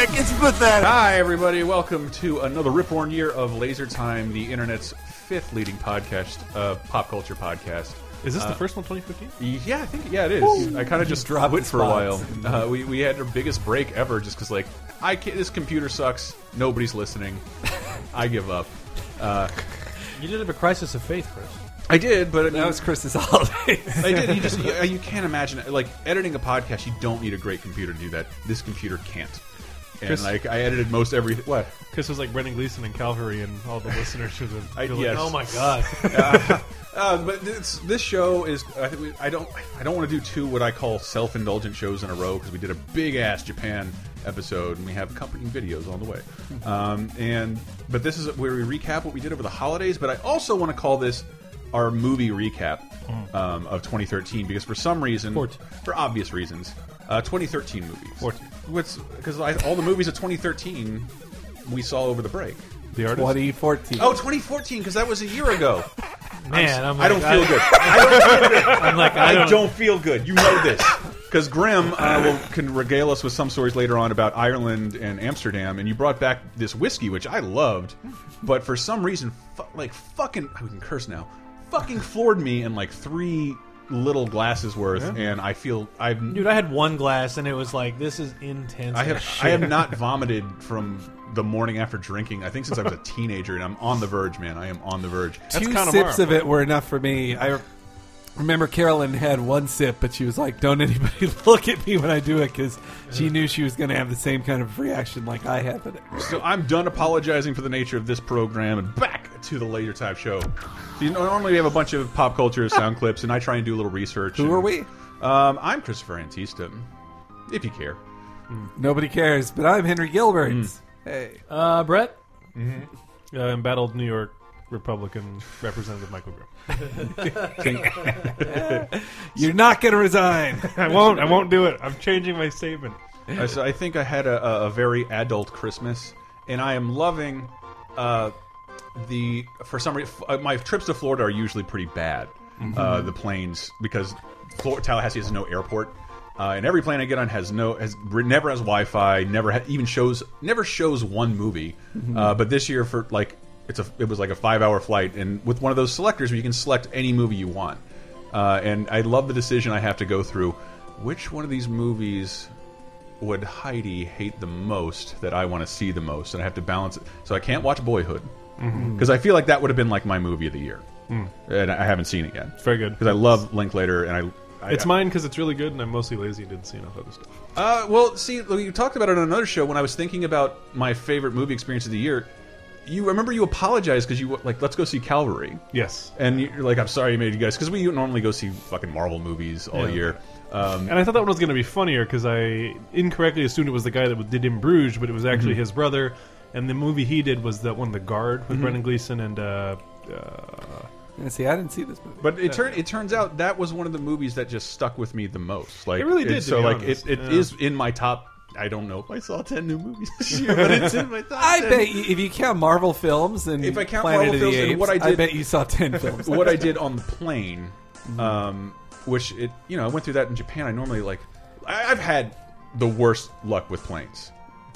pathetic. Hi, everybody. Welcome to another Ripborn year of Laser Time, the internet's fifth leading podcast, uh, pop culture podcast. Is this the first one, 2015? Yeah, I think yeah, it is. I kind of just dropped dropped it for a while. spots. Uh, we we had our biggest break ever, just because like I can't, this computer sucks. Nobody's listening. I give up. Uh, You did have a crisis of faith, Chris. I did, but I mean, That was Chris's holiday. I did. You just you, you can't imagine it. like editing a podcast. You don't need a great computer to do that. This computer can't. And Chris- like I edited most everything. What? Chris was like Brendan Gleeson and Calvary, and all the listeners who were I- like, yes. "Oh my god!" Uh, but this, this show is I, think we, I don't I don't want to do two what I call self indulgent shows in a row because we did a big ass Japan episode and we have accompanying videos on the way. Hmm. Um, and but this is where we recap what we did over the holidays. But I also want to call this our movie recap um, of 2013 because for some reason, Hmm. Fourteen. for obvious reasons, uh, 2013 movies. Fourteen. What's because all the movies of 2013 we saw over the break. The artist, 2014. Oh, 2014 because that was a year ago. man, I'm I like, don't feel good. I'm like, I I don't. don't feel good. You know this. Because Grim uh, will, can regale us with some stories later on about Ireland and Amsterdam, and you brought back this whiskey, which I loved, but for some reason, fu like fucking, we can curse now, fucking floored me in like three little glasses worth, and I feel I've Dude, I had one glass, and it was like, "This is intense." I have as I shit. have not vomited from the morning after drinking. I think since I was a teenager, and I'm on the verge, man. I am on the verge. That's Two kinda sips warm. of it were enough for me. I remember Carolyn had one sip, but she was like, "Don't anybody look at me when I do it," because she knew she was going to have the same kind of reaction like I had. But So I'm done apologizing for the nature of this program and back to the later time show. So you know, normally we have a bunch of pop culture sound clips, and I try and do a little research. who and- are we? Um, I'm Christopher Antista, if you care. Nobody cares. But I'm Henry Gilbert. Hmm. Hey, Uh, Brett, uh, embattled New York Republican Representative Michael Grimm. you're not going to resign. I won't. I won't do it. I'm changing my statement. Uh, so I think I had a, a- a very adult Christmas, and I am loving uh, the for some reason uh, my trips to Florida are usually pretty bad. Uh, the planes because Flor Tallahassee has no airport, uh, and every plane I get on has no has never has Wi-Fi, never ha even shows never shows one movie. Uh, but this year for like it's a it was like a five hour flight, and with one of those selectors where you can select any movie you want. Uh, and I love the decision I have to go through. Which one of these movies would Heidi hate the most that I want to see the most, and I have to balance it. So I can't watch Boyhood because Mm-hmm. I feel like that would have been like my movie of the year, Mm. and I haven't seen it yet It's very good. because I love Linklater and I. I It's mine because it's really good, and I'm mostly lazy and didn't see enough other stuff. Uh, well, see, you talked about it on another show when I was thinking about my favorite movie experience of the year. You remember you apologized because you were like let's go see Calvary. Yes, And you're like, I'm sorry I made you guys, because we normally go see fucking Marvel movies all Yeah. year. Um, and I thought that one was going to be funnier because I incorrectly assumed it was the guy that did In Bruges, but it was actually his brother. And the movie he did was that one, The Guard, with Brendan Gleeson and uh, uh, And see, I didn't see this movie. But it turn, it turns out that was one of the movies that just stuck with me the most. Like It really did, to so be like honest. it, it Yeah. is in my top. I don't know if I saw ten new movies this year, but it's in my top. I 10. bet you, if you count Marvel films and If I count Planet Marvel of the films and Apes, what I did- bet you saw ten films. what I did on the plane, Mm-hmm. um, which it you know I went through that in Japan. I normally like I, I've had the worst luck with planes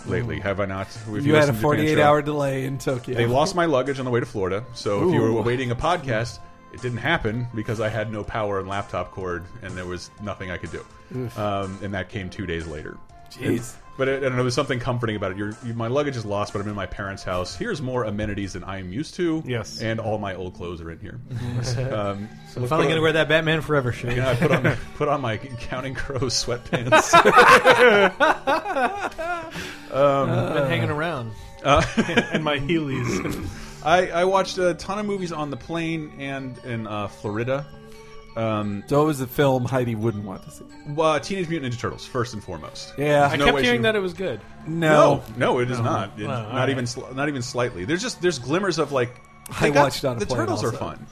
lately, have I not? If you had a listen to Japan forty-eight Show. hour delay in Tokyo. They lost my luggage on the way to Florida, so if you were Ooh. awaiting a podcast, it didn't happen because I had no power and laptop cord, and there was nothing I could do. Um, and that came two days later. Jeez. But it, and it was something comforting about it. You're, you, my luggage is lost, but I'm in my parents' house. Here's more amenities than I am used to. Yes. and all my old clothes are in here. um, so let's Finally put gonna on- wear that Batman Forever shirt. Yeah, I put on put on my Counting Crow sweatpants. I've been hanging around. Uh, and my Heelys. I, I watched a ton of movies on the plane and in uh, Florida. Um, So it was a film Heidi wouldn't want to see. Well, uh, Teenage Mutant Ninja Turtles, first and foremost. Yeah. I No kept way hearing she- that it was good. No, No, no, it is not. It- all not right. even, sli- not even slightly. There's just there's glimmers of like. I they got- watched on a the plane turtles are also. fun.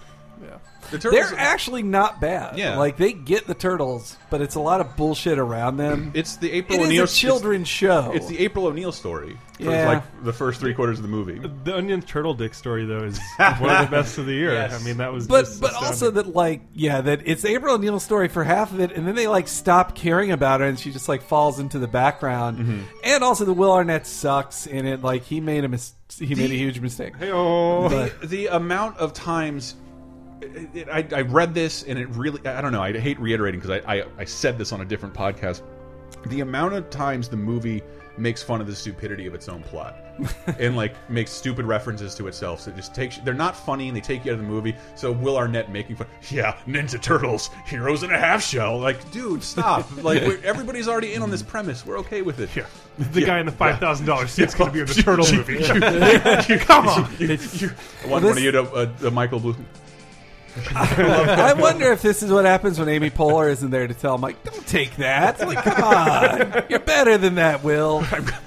The They're turtles. actually not bad. Yeah. like they get the turtles, but it's a lot of bullshit around them. it's the It April is O'Neil a children's show. It's, it's the April O'Neil story. For Yeah. Like the first three quarters of the movie. The Onion Turtle Dick story, though, is one of the best of the year. Yes. I mean, that was but just but astounding. also that like yeah that it's April O'Neil's story for half of it, and then they like stop caring about her, and she just like falls into the background. Mm-hmm. And also the Will Arnett sucks in it. Like he made a mis- he made a huge mistake. oh, But the amount of times it, I, I read this and it really i don't know i hate reiterating because I, I, I said this on a different podcast the amount of times the movie makes fun of the stupidity of its own plot and like makes stupid references to itself so it just takes they're not funny and they take you out of the movie so will arnett making fun yeah ninja turtles heroes in a half shell like dude stop like we're, everybody's already in on this premise we're okay with it yeah. the guy in the five thousand dollars seat's going to be in the turtle movie. Come on, i want Well, one of this- you to uh, the michael blue I wonder if this is what happens when Amy Poehler isn't there to tell. him like, don't take that. Like, come on, you're better than that, Will.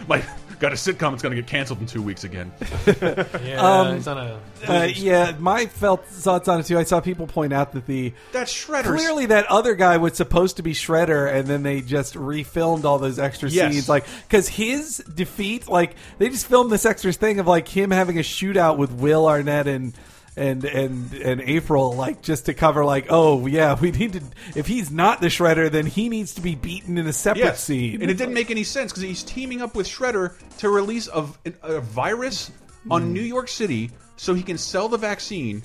my got a sitcom that's going to get canceled in two weeks again. Yeah, Um, it's on a. Uh, yeah, my felt thoughts on it too. I saw people point out that the That's Shredder. clearly that other guy was supposed to be Shredder, and then they just refilmed all those extra Yes. scenes, like because his defeat, like they just filmed this extra thing of like him having a shootout with Will Arnett and. And, and and April like just to cover like oh yeah we need to if he's not the shredder then he needs to be beaten in a separate Yes, scene and it didn't make any sense because he's teaming up with Shredder to release a, a virus Hmm. on New York City so he can sell the vaccine.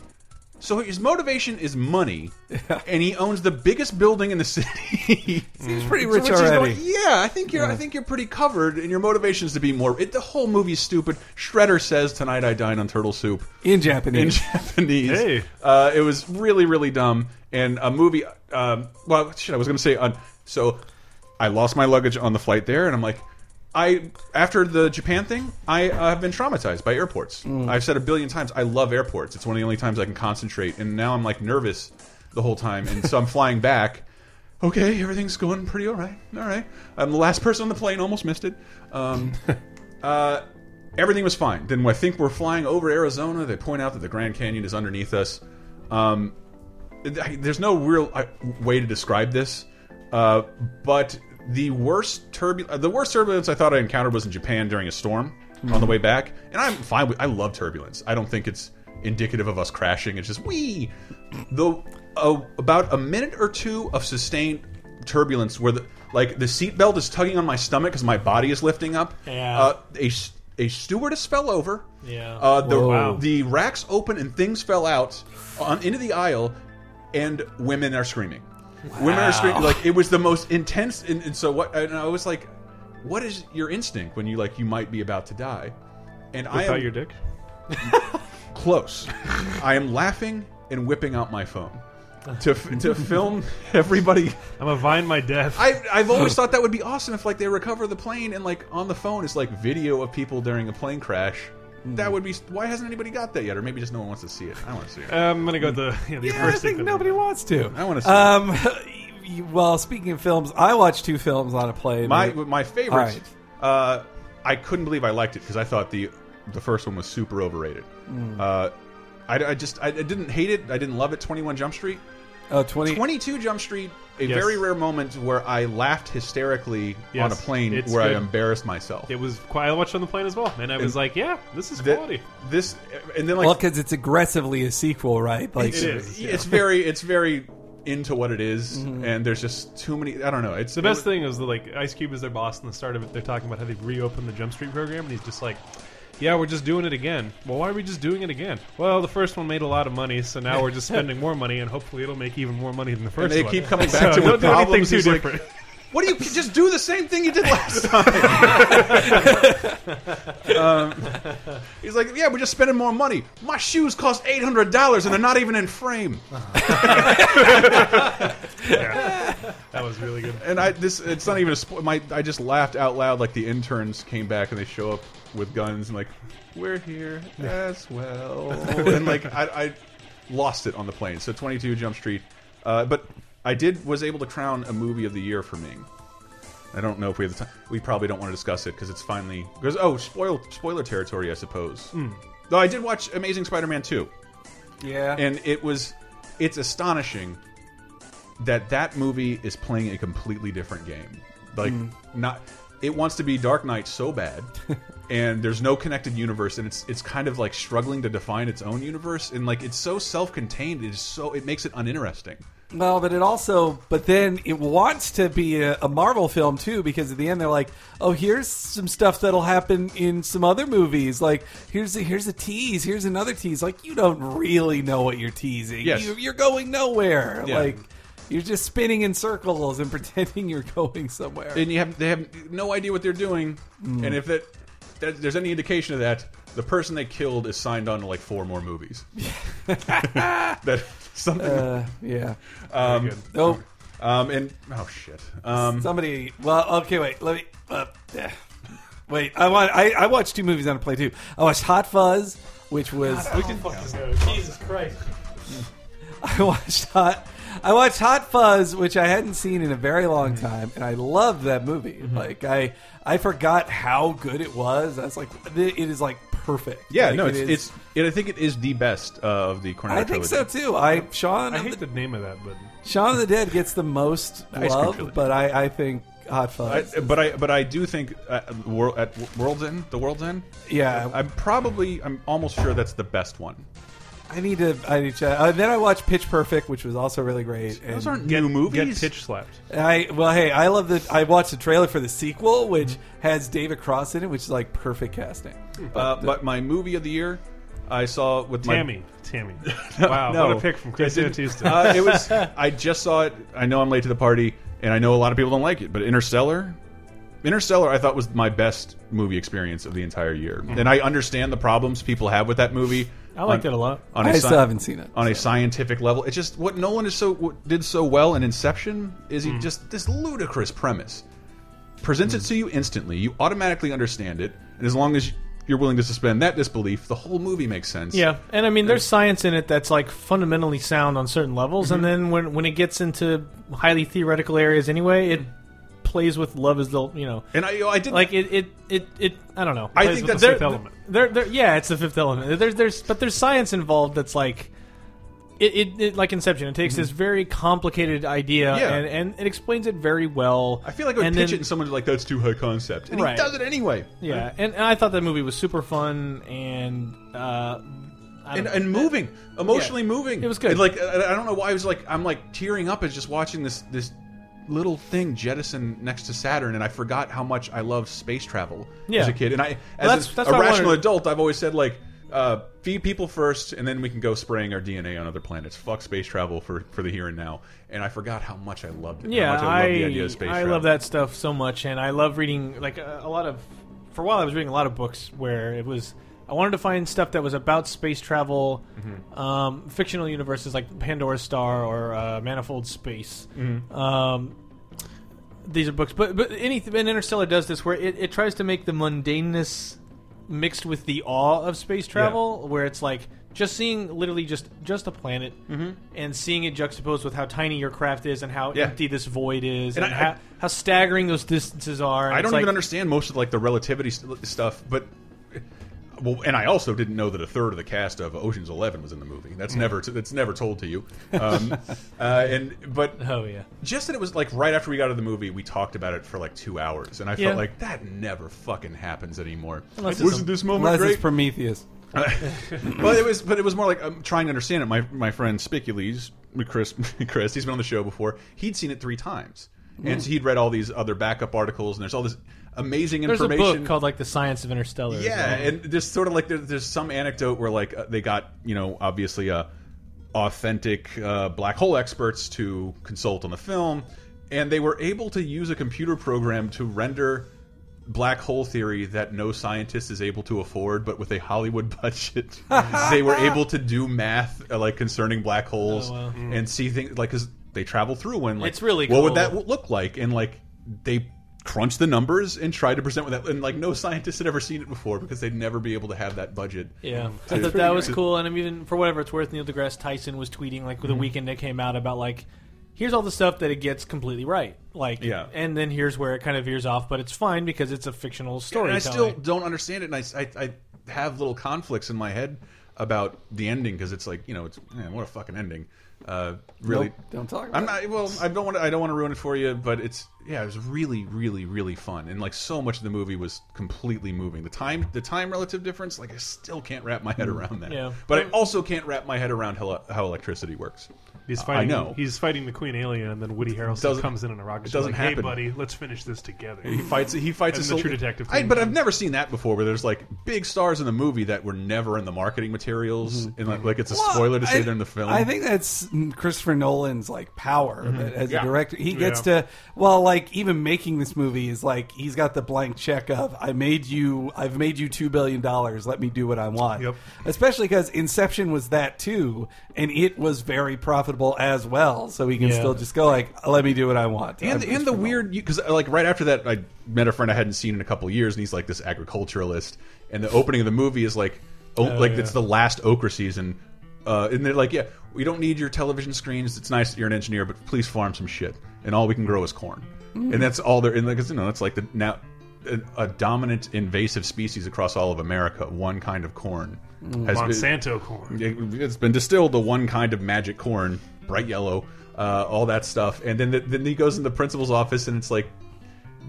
So his motivation is money, and he owns the biggest building in the city. Hmm. he's pretty So rich it's just already going, yeah, I think you're. I think you're pretty covered, and your motivation is to be more. It, the whole movie's stupid. Shredder says, "Tonight I dine on turtle soup." in in Japanese Japanese. Hey. Uh, it was really, really dumb. And a movie. Um, well, shit, I was going to say. On, so I lost my luggage on the flight there, and I'm like, I after the Japan thing, I uh, have been traumatized by airports. I've said a billion times, I love airports. It's one of the only times I can concentrate. And now I'm like nervous the whole time, and so I'm flying back. Okay, everything's going pretty all right. All right, I'm the last person on the plane. Almost missed it. Um, uh, everything was fine. Then I think we're flying over Arizona. They point out that the Grand Canyon is underneath us. Um, I- there's no real uh, way to describe this, uh, but the worst turbul uh, the worst turbulence I thought I encountered was in Japan during a storm on the way back, and I'm fine. With, I love turbulence. I don't think it's indicative of us crashing. It's just wee. The uh, about a minute or two of sustained turbulence where the like the seatbelt is tugging on my stomach because my body is lifting up. Yeah. Uh, a s- a stewardess fell over. Yeah. Uh, the Whoa. the racks open and things fell out on into the aisle, and women are screaming. Women are screaming. Like it was the most intense. And, and so what? And I was like, what is your instinct when you like you might be about to die? And I without am your dick. close. I am laughing and whipping out my phone to f- to film everybody I'm a vine my death. I, I've always thought that would be awesome if like they recover the plane and like on the phone is like video of people during a plane crash. Mm-hmm. That would be. Why hasn't anybody got that yet? Or maybe just no one wants to see it. I want to see it. I'm gonna go with the yeah, the Yeah, I first think thing. nobody wants to. I wanna see Um, you- well, speaking of films, I watched two films on a plane. my They- my favorites. Uh, I couldn't believe I liked it because I thought the the first one was super overrated. Mm. Uh, I, I just I, I didn't hate it. I didn't love it. Twenty One Jump Street. oh, 20, 22 Jump Street, a Yes. very rare moment where I laughed hysterically on a Yes, plane it's where I good. embarrassed myself. It was quite. I watched it on the plane as well, and I was like, yeah, this is Th- quality. this and then like well, because it's aggressively a sequel, right? Like, It is. yeah. it's very it's very into what it is, and there's just too many i don't know it's The best thing is that like Ice Cube is their boss, and the start of it, they're talking about how they've reopened the Jump Street program, and he's just like, "Yeah, we're just doing it again." Well, why are we just doing it again? Well, the first one made a lot of money, so now we're just spending more money, and hopefully it'll make even more money than the first. they one. keep coming back so to it don't with do anything problems. too He's like- different. what do you just do the same thing you did last time Um, he's like yeah we're just spending more money my shoes cost $800 and they're not even in frame that was really good. and i this it's not even a spo- my i just laughed out loud like the interns came back and they show up with guns and like we're here as well and like i, I lost it on the plane so 22 jump street uh, but i did was able to crown a movie of the year for me i don't know if we have the time we probably don't want to discuss it because it's finally because oh spoil spoiler territory i suppose though i did watch amazing spider-man 2 yeah. and it was it's astonishing that that movie is playing a completely different game. Like not it wants to be Dark Knight so bad and there's no connected universe and it's it's kind of like struggling to define its own universe and like it's so self-contained it is so it makes it uninteresting. No, but it also, but then it wants to be a, a Marvel film too, because at the end they're like, "Oh, here's some stuff that'll happen in some other movies. Like, here's a, here's a tease, here's another tease. Like, you don't really know what you're teasing. Yes. You, you're going nowhere. Yeah. Like, you're just spinning in circles and pretending you're going somewhere. and you have they have no idea what they're doing. And if that, that there's any indication of that, the person they killed is signed on to like four more movies. that something. uh, yeah. um, good. Oh, um, and oh shit. Um, somebody. Well, okay, wait. Let me. Uh, eh. wait, I want. I, I watched two movies on a play too. I watched Hot Fuzz, which was. We can fucking go. Jesus Christ. I watched Hot. I watched Hot Fuzz, which I hadn't seen in a very long Mm-hmm. time, and I loved that movie. Like I, I forgot how good it was. I was like, it is like perfect. yeah, Like, no, it it's is- it's. It, I think it is the best uh, of the Cornetto I think so trilogy. too. I Sean, I of hate the, the name of that, but Shaun of the Dead gets the most Ice cream love, trilogy. but I, I think Hot Fuzz. I, but I but I do think at, Wor- at World's End, the World's End. yeah, I'm probably I'm almost sure that's the best one. I need to. I need to. Uh, then I watched Pitch Perfect, which was also really great. And Those aren't get, new movies. get pitch slapped. I well, hey, I love the. I watched the trailer for the sequel, which has David Cross in it, which is like perfect casting. uh, but my movie of the year, I saw with my Tammy. Tammy. Wow, no. what a pick from Chris It didn't- Tuesday. Uh, it was. I just saw it. I know I'm late to the party, and I know a lot of people don't like it. But Interstellar, Interstellar, I thought was my best movie experience of the entire year. Mm. And I understand the problems people have with that movie. I liked on- it a lot. On a I sci- still haven't seen it. on a scientific level. It's just what Nolan is so what did so well in Inception is Hmm. he just this ludicrous premise presents it to you instantly. You automatically understand it, and as long as you're willing to suspend that disbelief, the whole movie makes sense. Yeah, and I mean, there's science in it that's like fundamentally sound on certain levels, Mm-hmm. and then when when it gets into highly theoretical areas, anyway, it Mm-hmm. plays with love as the you know, And I, I did like it it it, it I don't know. I Plays think that's with the their fifth element. There, there, yeah, it's the fifth element. There's, there's, but there's science involved that's like, it, it, it like Inception. It takes this very complicated idea Mm-hmm. Yeah. and, and it explains it very well. I feel like I would and pitch then- it and someone's like, that's too high concept. And Right. he does it anyway. Yeah, and, and I thought that movie was super fun and uh, I And, don't- and moving, emotionally Yeah. moving. It was good. And, like I I don't know why I was like I'm like tearing up as just watching this this little thing jettison next to Saturn, and I forgot how much I love space travel Yeah. as a kid. And I, as that's- a, that's a what I rational wanted. adult, I've always said like uh, feed people first, and then we can go spraying our DNA on other planets. Fuck space travel for for the here and now. And I forgot how much I loved it. and yeah, how much I, I, loved the idea of space I travel. love that stuff so much, and I love reading like a, a lot of. For a while, I was reading a lot of books where it was. I wanted to find stuff that was about space travel, Mm-hmm. um, fictional universes like Pandora's Star or uh, Manifold Space. Mm-hmm. Um, these are books, but but anything. And Interstellar does this where it, it tries to make the mundaneness mixed with the awe of space travel, where it's like just seeing literally just just a planet and seeing it juxtaposed with how tiny your craft is and how Mm-hmm. Yeah. empty this void is and, And I- how, how staggering those distances are. and I it's don't like- even understand most of like the relativity st stuff, but well, and I also didn't know that a third of the cast of Ocean's Eleven was in the movie. Mm. That's never t that's never told to you. Um, uh, and but Oh yeah, just that it was like right after we got out of the movie, we talked about it for like two hours, and I Yeah. felt like that never fucking happens anymore. Unless it's Wasn't some- this moment Unless great? it's Prometheus. but it was but it was more like um, trying to understand it. My my friend Spicules, Chris Chris, he's been on the show before. He'd seen it three times, and Hmm. so he'd read all these other backup articles. And there's all this amazing there's a information book called like the Science of Interstellar. as yeah, well. and there's sort of like there, there's some anecdote where like uh, they got you know obviously uh, authentic uh, black hole experts to consult on the film, and they were able to use a computer program to render black hole theory that no scientist is able to afford but with a hollywood budget they were able to do math uh, like concerning black holes Oh, wow. and see things like because they travel through one like It's really what would cool. that w- look like and like they crunch the numbers and try to present with that and like no scientist had ever seen it before because they'd never be able to have that budget Yeah, to- I thought that was to- cool, and I'm even for whatever it's worth. Neil deGrasse Tyson was tweeting like Mm-hmm. the weekend it came out about like, here's all the stuff that it gets completely right, like, Yeah. and then here's where it kind of veers off, but it's fine because it's a fictional story. and i still don't understand it and I, s- I- I have little conflicts in my head about the ending because it's like you know it's man, what a fucking ending Uh, really, Nope, don't talk about I'm it. not. Well, I don't want. To, I don't want to ruin it for you, but it's yeah, it was really, really, really fun, and like so much of the movie was completely moving. The time, the time relative difference, like I still can't wrap my head Mm, around that. Yeah. But I also can't wrap my head around how, how electricity works. He's I fighting. know. He's fighting the Queen Alien, and then Woody Harrelson doesn't- comes in in a rocket. it ship doesn't like, Hey, happen. buddy, let's finish this together. He fights. He fights And a the True cel- Detective I, thing. but I've never seen that before, where there's like big stars in the movie that were never in the marketing materials, Mm-hmm. and like, like it's a Well, spoiler to say I- they're in the film. Mm-hmm. I think that's Christopher Nolan's like power that as Yeah. a director. He gets Yeah. to well, like even making this movie is like he's got the blank check of I made you, I've made you two billion dollars. Let me do what I want. Yep. Especially because Inception was that too, and it was very profitable as well. So he can Yeah. still just go like, let me do what I want. and I'm and the Christopher Nolan. weird because like right after that I met a friend I hadn't seen in a couple of years and he's like this agriculturalist and the opening of the movie is like oh, like it's the last okra season uh, and they're like yeah we don't need your television screens it's nice that you're an engineer but please farm some shit and all we can grow is corn and that's all they're and like you know that's like the now a, a dominant invasive species across all of America one kind of corn has been- Monsanto corn. it- it's been distilled to one kind of magic corn, bright yellow, uh, all that stuff. And then the, then he goes in the principal's office, and it's like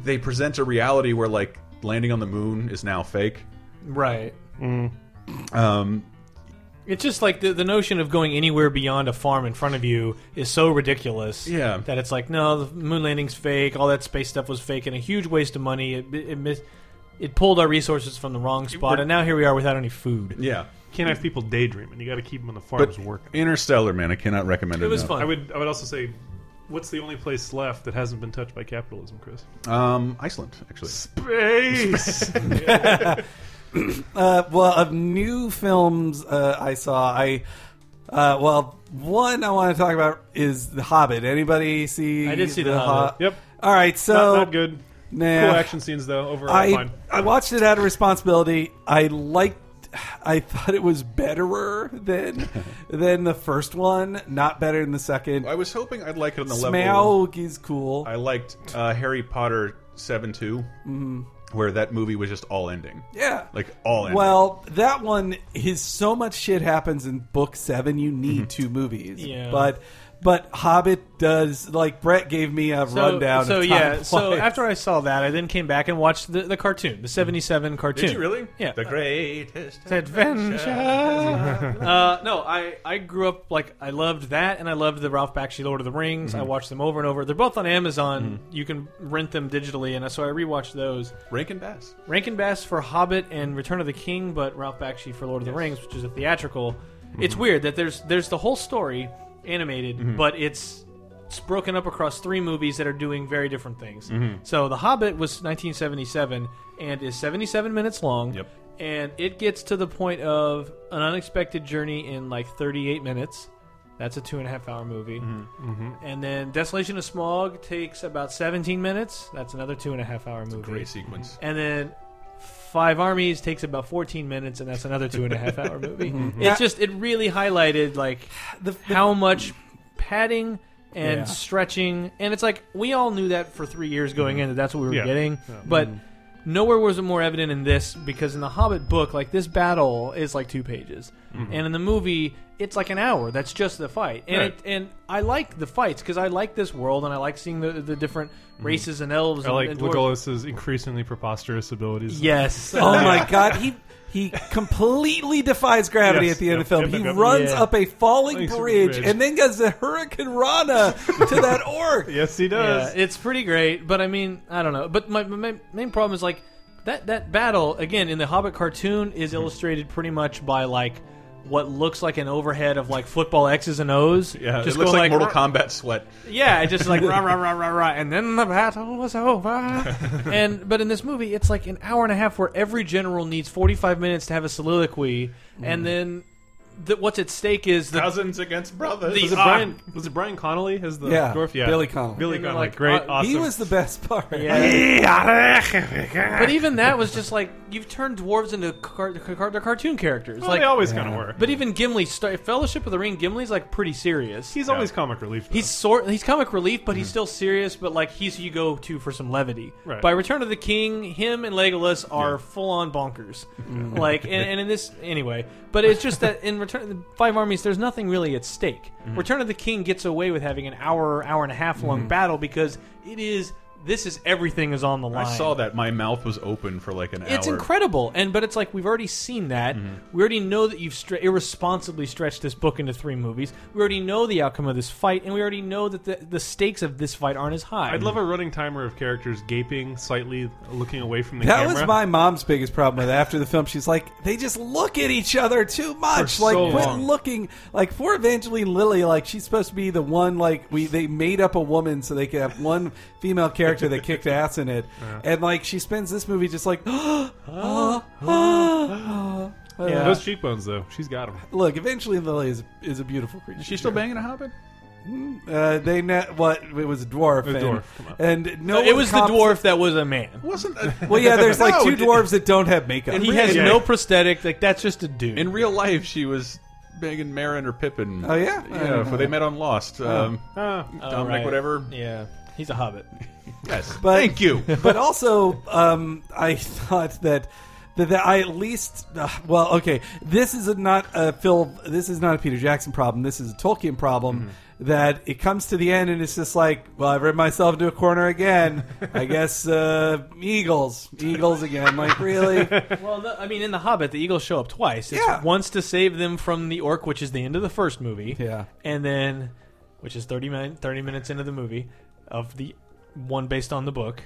they present a reality where like landing on the moon is now fake. Right. Mm. Um, It's just like the, the notion of going anywhere beyond a farm in front of you is so ridiculous. Yeah. That it's like, no, the moon landing's fake. All that space stuff was fake and a huge waste of money. It, it, mis- it pulled our resources from the wrong spot, and now here we are without any food. yeah, Can't have people daydreaming. You got to keep them on the but farms working. Interstellar, man, I cannot recommend it. It was enough. fun. I would. I would also say, what's the only place left that hasn't been touched by capitalism, Chris? Um, Iceland, actually. Space. Uh, well, of new films uh, I saw, I uh, well, one I want to talk about is The Hobbit. Anybody see? I did see The Ho- Hobbit. yep. All right, so Not, not good. Nah. Cool action scenes though. Overall, I fine. I watched it out of responsibility. I liked. I thought it was betterer than than the first one. Not better than the second. I was hoping I'd like it on the level. Smaug is cool. I liked uh, Harry Potter seven two, where that movie was just all ending. yeah. Like all ending. Well, that one is so much shit happens in book seven. You Mm-hmm. need two movies, Yeah. but but Hobbit does like Brett gave me a So, rundown. so of yeah, time so wise. after I saw that, I then came back and watched the, the cartoon, the 77 cartoon. did you really? Yeah. The greatest. Adventure. uh, no, I, I grew up like I loved that, and I loved the Ralph Bakshi Lord of the Rings. I watched them over and over. They're both on Amazon. You can rent them digitally, and so I rewatched those. Rankin Bass. Rankin Bass for Hobbit and Return of the King, but Ralph Bakshi for Lord of the Rings, which is a theatrical. It's weird that there's there's the whole story animated, but it's it's broken up across three movies that are doing very different things. So The Hobbit was 1977 and is 77 minutes long. Yep. And it gets to the point of an unexpected journey in like 38 minutes. That's a two and a half hour movie. And then Desolation of Smog takes about 17 minutes. That's another two and a half hour movie. Great sequence. And then Five Armies takes about 14 minutes, and that's another two and a half hour movie. Mm-hmm. It's Yeah. just, it really highlighted, like, The- the- how much padding and Yeah. stretching. And it's like, we all knew that for three years going in, that that's what we were Mm-hmm. Yeah. Mm-hmm. getting. But nowhere was it more evident in this, because in the Hobbit book, like, this battle is like two pages. Mm-hmm. And in the movie, it's like an hour. That's just the fight. And, Right. it, and I like the fights, because I like this world, and I like seeing the, the different races and elves. Mm-hmm. I like and, and dwarves. Legolas's increasingly preposterous abilities. Yes. oh my god, he he completely defies gravity Yes, at the end of the yep, film. yep, he yep, yep. runs Yeah. up a falling Like a bridge, bridge. and then goes the Hurricane Rana to that orc. Yes, he Yeah, does. it's pretty great, but I mean, I don't know. But my, my main- main problem is like that that battle again in the Hobbit cartoon is Mm-hmm. illustrated pretty much by like what looks like an overhead of like football X's and O's. Yeah, just it looks going like, Mortal "Rah." Kombat sweat. Yeah, it's just like rah rah rah rah rah, and then the battle was over. and but in this movie, it's like an hour and a half where every general needs forty five minutes to have a soliloquy, Mm. and then the, what's at stake is the Cousins against brothers. was it Ah. Brian? Was it Brian Connolly as the Yeah, dwarf? Yeah, Billy Connolly. Billy And they're Connolly, like, great, uh, awesome. He was the best part. but even that was just like you've turned dwarves into car- car- they're cartoon characters. Well, like they always kind of were. But even Gimli, Star- Fellowship of the Ring, Gimli's like pretty serious. he's always comic relief. though. He's sort he's comic relief, Mm-hmm. but he's still serious. But like he's who you go to for some levity. Right. By Return of the King, him Mm-hmm. and Legolas are full on bonkers. Like and, and in this anyway, but it's just that in Return the Five Armies, there's nothing really at stake. Mm-hmm. Return of the King gets away with having an hour, hour and a half long battle because it is. This is everything is on the I line. saw that. My mouth was open for like an hour. It's incredible, and but it's like we've already seen that. We already know that you've stre- irresponsibly stretched this book into three movies. We already know the outcome of this fight, and we already know that the, the stakes of this fight aren't as high. I'd love a running timer of characters gaping slightly, looking away from the That camera. was my mom's biggest problem with it. after the film. She's like, they just look at each other too much. For like, so quit long. looking. Like, for Evangeline Lilly, like she's supposed to be the one. Like, we they made up a woman so they could have one female character that kicked ass in it, and like she spends this movie just like, Uh, Yeah. Those cheekbones, though, she's got them. look, Evangeline Lilly is is a beautiful creature. Is she still banging a hobbit? Uh, they ne- what it was a dwarf. A and, dwarf, come on. and no, No, it one was the cops- dwarf that was a man. Wasn't a, Well, yeah, there's like No, two it- dwarves that don't have makeup. He has Yeah. no prosthetic. Like that's just a dude. In real life, she was banging Marin or Pippin. Oh, yeah? I yeah. don't know Oh. For they met on Lost. Um, Ah, Dominic, right. whatever. yeah, he's a hobbit. Yes. But- Thank you. but also, um, I thought that. That that I at least uh, well okay this is a, not a Phil this is not a Peter Jackson problem this is a Tolkien problem Mm-hmm. that it comes to the end and it's just like well I've read myself into a corner again I guess uh, eagles eagles again like really Well, the, I mean, in The Hobbit, the eagles show up twice. It's Yeah. once to save them from the orc, which is the end of the first movie. Yeah. And then, which is 30, min- 30 minutes into the movie, of the one based on the book.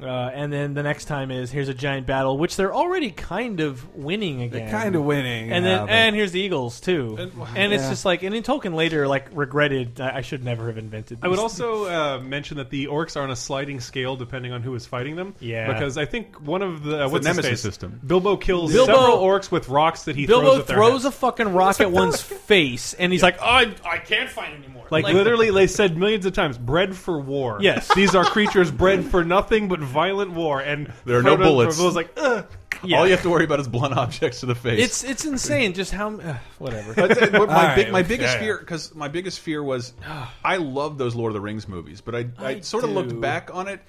Uh, and then the next time is here's a giant battle, which they're already kind of winning again. kind of winning And yeah, then, but- and here's the Eagles too, and, it's Yeah. just like, and in Tolkien later, like regretted, I, I should never have invented. These. I would also uh, mention that the orcs are on a sliding scale depending on who is fighting them. Yeah. Because I think one of the the uh, what's his nemesis face? system. Bilbo kills Bilbo- several orcs with rocks that he throws Bilbo at their throws a heads. fucking rock at one's face, and he's like, "Oh, "I I can't fight anymore." like, literally, they said millions of times, "Bred for war." Yes. these are creatures bred for nothing but violent war. And There are no Frodo- bullets. Frodo's like, Ugh. yeah. All you have to worry about is blunt objects to the face. It's it's insane just how uh, whatever. But my, All big, right. my biggest Yeah, yeah. fear, because my biggest fear was, I love those Lord of the Rings movies, but I, I, I sort of looked do. back on it,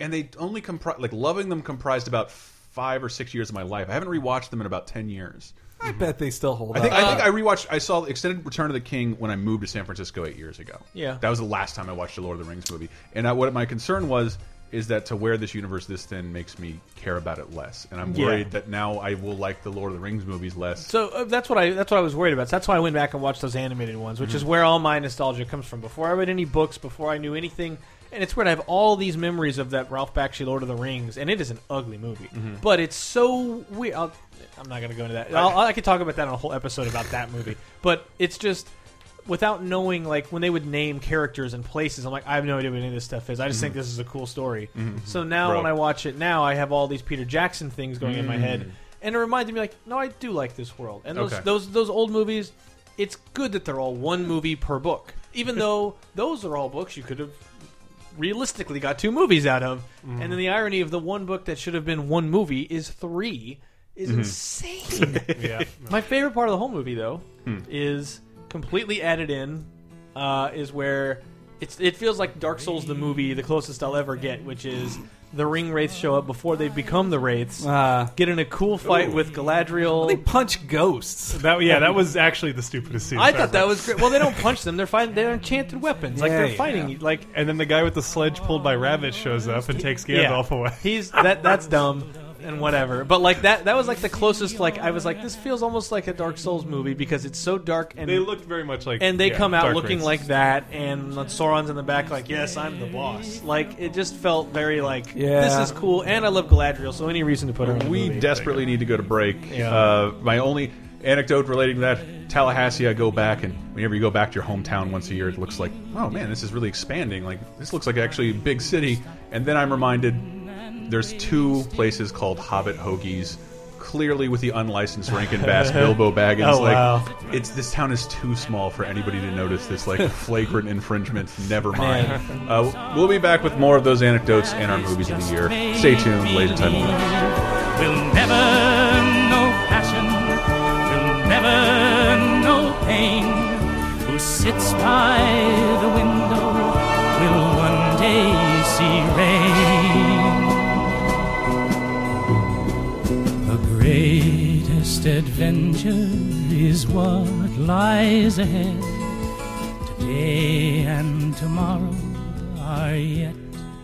and they only comprise like loving them comprised about five or six years of my life. I haven't rewatched them in about ten years. I uh, bet they still hold I think, up I think I rewatched. I saw Extended Return of the King when I moved to San Francisco eight years ago. Yeah. that was the last time I watched a Lord of the Rings movie. And I, what my concern was is that to wear this universe this thin makes me care about it less, and I'm Yeah. worried that now I will like the Lord of the Rings movies less. So uh, that's what I that's what I was worried about. So that's why I went back and watched those animated ones, which is where all my nostalgia comes from. Before I read any books, before I knew anything, and it's weird. I have all these memories of that Ralph Bakshi Lord of the Rings, and it is an ugly movie, but it's so weird. I'll, I'm not going to go into that. I'll, I could talk about that on a whole episode about that movie, but it's just without knowing like when they would name characters and places i'm like i have no idea what any of this stuff is i just think this is a cool story so now Bro. when i watch it now i have all these peter jackson things going in my head and it reminded me like no i do like this world and those Okay. those those old movies it's good that they're all one movie per book even though those are all books you could have realistically got two movies out of and then the irony of the one book that should have been one movie is three is insane yeah. my favorite part of the whole movie, though, Hmm. is completely added in. Uh, is where it's it feels like Dark Souls the movie, the closest I'll ever get, which is the ring wraiths show up before they become the wraiths, uh, get in a cool fight with they Galadriel. punch ghosts That yeah, that was actually the stupidest scene. I I've thought ever- that was great. Well, they don't punch them; they're fighting. They're enchanted weapons. Like Yeah, they're fighting. Like And then the guy with the sledge pulled by rabbits shows up and takes Gandalf away. He's that that's dumb and whatever. But like that that was like the closest. Like I was like, this feels almost like a Dark Souls movie because it's so dark and They looked very much like, and they yeah, come out dark looking races. like that, and Sauron's in the back, like, "Yes, I'm the boss." Like, it just felt very like, Yeah. "This is cool," and I love Galadriel, so any reason to put her in the We movie. desperately need to go to break. Yeah. Uh, my only anecdote relating to that Tallahassee, I go back, and whenever you go back to your hometown once a year, it looks like, oh man, this is really expanding. Like this looks like actually a big city. And then I'm reminded there's two places called Hobbit Hoagies. Clearly, with the unlicensed Rankin Bass Bilbo Baggins, Oh, like wow. it's this town is too small for anybody to notice this like flagrant infringement. Never mind. Uh, we'll be back with more of those anecdotes and our movies of the year. Stay tuned. Laser time. will win. We'll never know passion, we'll never know pain. Who sits by the window will one day see rain. The greatest adventure is what lies ahead. Today and tomorrow are yet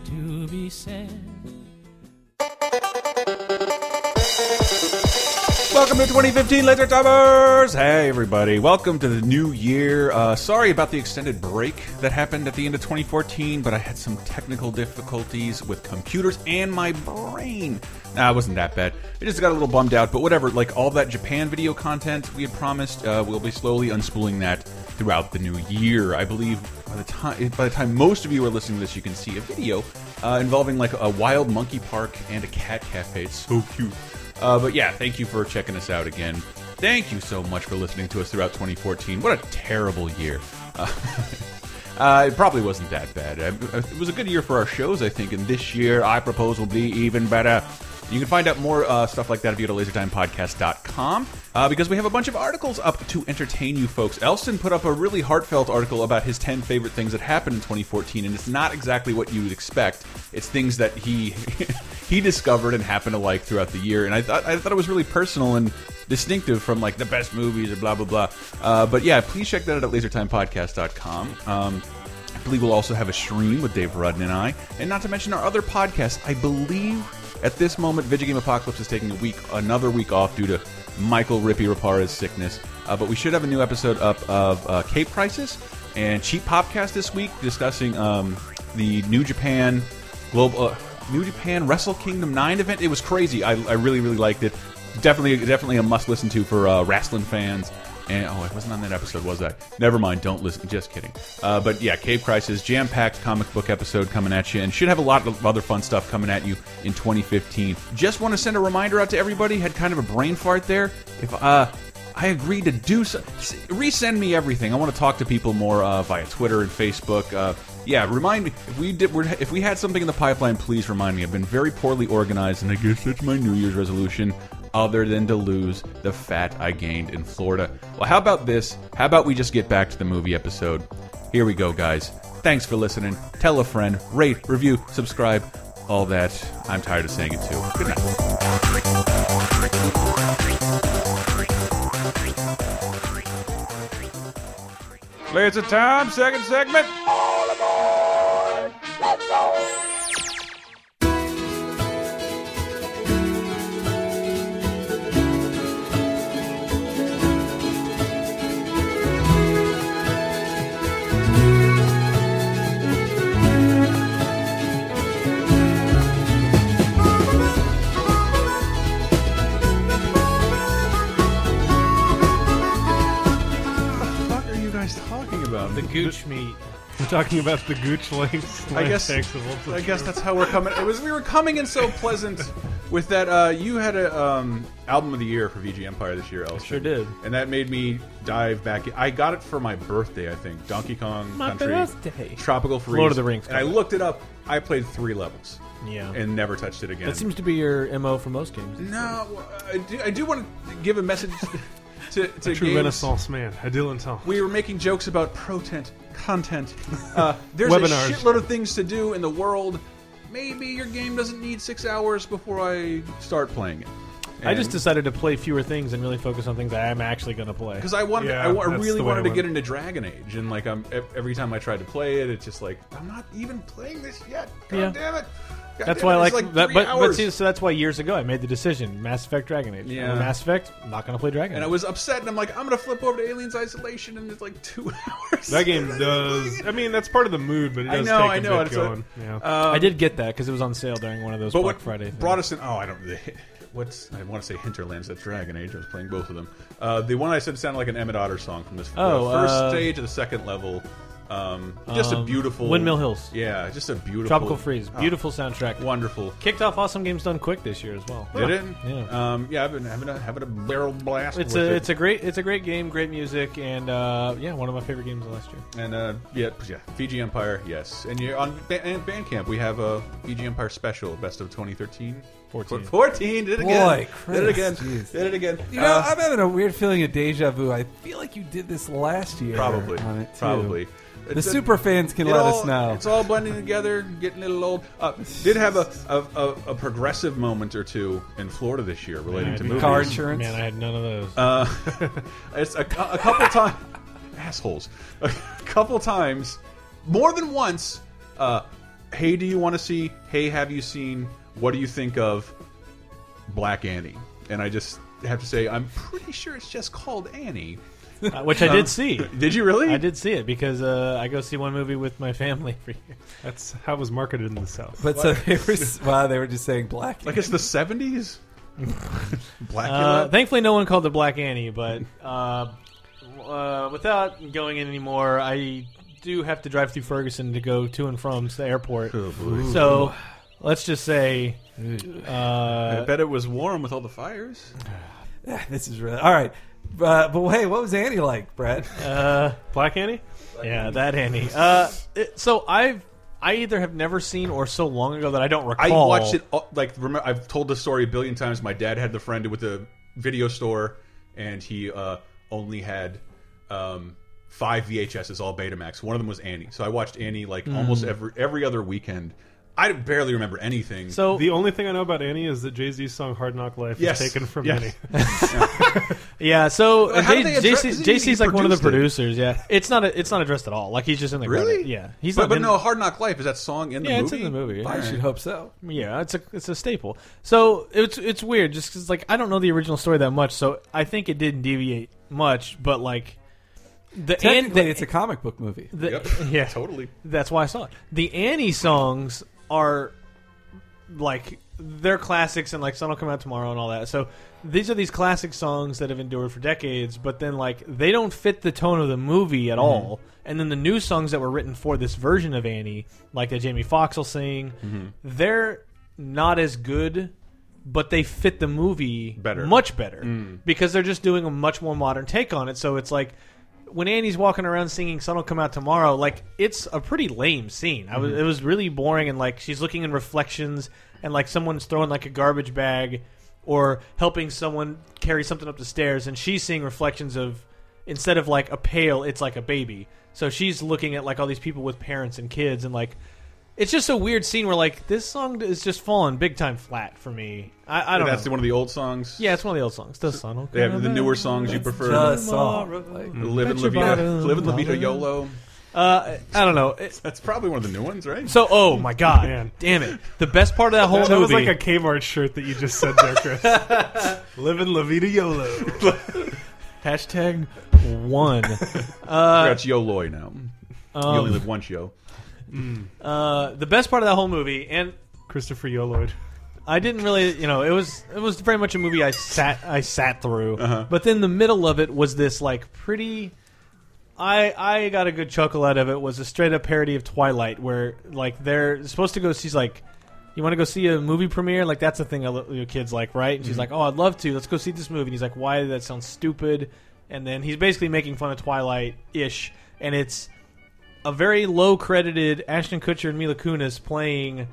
to be said. Welcome to 2015, Laser Timers! Hey, everybody. Welcome to the new year. Uh, sorry about the extended break that happened at the end of 2014, but I had some technical difficulties with computers and my brain. Nah, it wasn't that bad. It just got a little bummed out, but whatever. Like, all that Japan video content we had promised, uh, we'll be slowly unspooling that throughout the new year. I believe by the time by the time most of you are listening to this, you can see a video uh, involving, like, a wild monkey park and a cat cafe. It's so cute. Uh, but yeah, thank you for checking us out again. Thank you so much for listening to us throughout 2014. What a terrible year. Uh, uh, it probably wasn't that bad. Uh, It was a good year for our shows, I think, and this year I propose will be even better. You can find out more uh, stuff like that if you go to lasertimepodcast.com uh, because we have a bunch of articles up to entertain you folks. Elston put up a really heartfelt article about his 10 favorite things that happened in 2014, and it's not exactly what you would expect. It's things that he he discovered and happened to like throughout the year. And I thought I thought it was really personal and distinctive from like the best movies or blah blah blah. Uh, but yeah, please check that out at lasertimepodcast.com. Um, I believe we'll also have a stream with Dave Rudden and I, and not to mention our other podcast. I believe at this moment, Video Game Apocalypse is taking a week, another week off due to Michael Rippy Rapara's sickness. Uh, but we should have a new episode up of uh, Cape Crisis and Cheap Popcast this week, discussing um, the New Japan Global uh, New Japan Wrestle Kingdom Nine event. It was crazy. I, I really really liked it. Definitely definitely a must listen to for uh, wrestling fans. And oh, I wasn't on that episode, was I? Never mind. Don't listen. Just kidding. Uh, but yeah, Cave Crisis, jam packed comic book episode coming at you, and should have a lot of other fun stuff coming at you in 2015. Just want to send a reminder out to everybody. Had kind of a brain fart there. If uh, I agreed to do so. s- Resend me everything. I want to talk to people more uh, via Twitter and Facebook. Uh, yeah, remind me if we did. We're, if we had something in the pipeline, please remind me. I've been very poorly organized, and I guess that's my New Year's resolution, other than to lose the fat I gained in Florida. Well, how about this? How about we just get back to the movie episode? Here we go, guys. Thanks for listening. Tell a friend. Rate, review, subscribe, all that. I'm tired of saying it too. Good night. It's a time, second segment. What are you guys talking about? The gooch meat. We're talking about the gooch links. I guess. Thanks, of all- I guess that's how we're coming. It was we were coming in so pleasant with that. Uh, you had a um, album of the year for VG Empire this year, Elson. Sure did. And that made me dive back. in- I got it for my birthday, I think. Donkey Kong My Country, birthday. Tropical Freeze, Lord of the Rings And I cover. looked it up. I played three levels Yeah. and never touched it again. that seems to be your mo for most games. no, I do, I do want to give a message to, to True games. Renaissance man, a dilettante. we were making jokes about protent content. Uh, there's Webinars. a shitload of things to do in the world. Maybe your game doesn't need six hours before I start playing it. I just decided to play fewer things and really focus on things that I'm actually going to play. because I wanted, Yeah, I, wa- I that's really the way wanted I to went. get into Dragon Age, and like I'm ev- every time I tried to play it, it's just like I'm not even playing this yet. God Yeah. damn it! God That's damn why, it, I like, it's that, three but, but hours. see, so that's why years ago I made the decision: Mass Effect, Dragon Age. Yeah. Mass Effect, not going to play Dragon. and I Age. was upset, and I'm like, I'm gonna flip over to Aliens Isolation, and it's like two hours. That game does. I mean, that's part of the mood, but it I does know, take a I know, bit it's a- uh, going. yeah. I did get that because it was on sale during one of those um, But Black what Friday. Things. brought us in? Oh, I don't. The, what's I want to say Hinterlands. That's Dragon Age. I was playing both of them. Uh, the one I said sounded like an Emmett Otter song from this Oh, the first uh, stage of the second level. Um, just a um, beautiful Windmill Hills. Yeah, just a beautiful Oh, Tropical Freeze, Ah. beautiful soundtrack. wonderful. Kicked off Awesome Games Done Quick this year as well. Did it? Yeah. Um, yeah, I've been having a having a barrel blast. It's with a it. it's a great it's a great game, great music, and uh, yeah, one of my favorite games of last year. and uh, yeah, yeah, Fiji Empire. Yes, and you're on ba and Bandcamp. We have a Fiji Empire special, best of 2013. 14. 14 did it again. Boy, did it Christ, again. jeez. Did it again. You know, Uh, I'm having a weird feeling of deja vu. I feel like you did this last year. Probably, on it, too. probably. The super fans can let all- us know. It's all blending together, getting a little old. Uh, did have a, a, a, a progressive moment or two in Florida this year relating to movies. Car insurance. Man, I had none of those. Uh, it's a, cou- a couple times. assholes. A couple times. More than once. Uh, hey, do you want to see? Hey, have you seen? What do you think of Black Annie? And I just have to say, I'm pretty sure it's just called Annie. Uh, which I did see. Did you really? I did see it because uh, I go see one movie with my family every year. That's how it was marketed in the South. but so they were. s- Wow, they were just saying black. Like it's the 70s? Blackula? Uh, thankfully, no one called it Black Annie, but uh, uh, without going in anymore, I do have to drive through Ferguson to go to and from the airport. Oh, boy. So let's just say, I uh, bet it was warm with all the fires. this is really all right. Uh, but hey, what was Annie like, Brett? uh, Black Annie? yeah, that Annie. Uh, it- so I've I either have never seen or so long ago that I don't I recall. watched it all- like remember I've told the story a billion times. My dad had the friend with the video store, and he uh, only had um, five VHSs, all Betamax. One of them was Annie, so I watched Annie like Hmm. almost every every other weekend. I barely remember anything. So The only thing I know about Annie is that Jay Z's song "Hard Knock Life" Oh. Yes. is taken from Yes. Annie. Yeah, so uh, How J- did they address- JC isn't he- JC's like he one of the produced producers. Yeah, it's not a, it's not addressed at all. Like he's just in the really, credit. Yeah, he's but, not but in- no, Hard Knock Life is that song in the Yeah, movie? it's in the movie. I All should right. hope so. Yeah, it's a it's a staple. So it's it's weird just because like I don't know the original story that much, so I think it didn't deviate much. But like the and Technically, the, it's a comic book movie. the- Yep. yeah, Totally. that's why I saw it. The Annie songs are like they're classics, and like some will come out tomorrow and all that. So these are these classic songs that have endured for decades, but then like they don't fit the tone of the movie at all. And then the new songs that were written for this version of Annie, like that Jamie Foxx will sing, they're not as good. But they fit the movie Better. much better, because they're just doing a much more modern take on it. So it's like when Annie's walking around singing "Sun Will Come Out Tomorrow," like it's a pretty lame scene. I was, Mm-hmm. it was really boring, and like she's looking in reflections, and like someone's throwing like a garbage bag, or helping someone carry something up the stairs, and she's seeing reflections of instead of like a pail, it's like a baby. So she's looking at like all these people with parents and kids, and like it's just a weird scene where like this song is just falling big time flat for me. I, I don't That's know. one of the old songs. yeah, it's one of the old songs. The sun will They come have the out. newer songs you prefer. The song. Like, Live in Bet your Libido, bottom Live in Libido dollar. YOLO. Uh, I don't know. It- That's probably one of the new ones, right? So, oh my god, Man. damn it! The best part of that whole that movie was like a Kmart shirt that you just said there, Chris. Living La Vida YOLO. hashtag one. That's YOLOY now. you um, only live once, yo. uh, the best part of that whole movie, and Christopher Yoloid. I didn't really, you know, it was it was very much a movie I sat I sat through. But then the middle of it was this like pretty. I I got a good chuckle out of it. Was a straight up parody of Twilight, where like they're supposed to go. She's like, "You want to go see a movie premiere? Like that's the thing a li- your kids like, right?" And she's like, "Oh, I'd love to. Let's go see this movie." And he's like, "Why? That sounds stupid." And then he's basically making fun of Twilight ish, and it's a very low credited Ashton Kutcher and Mila Kunis playing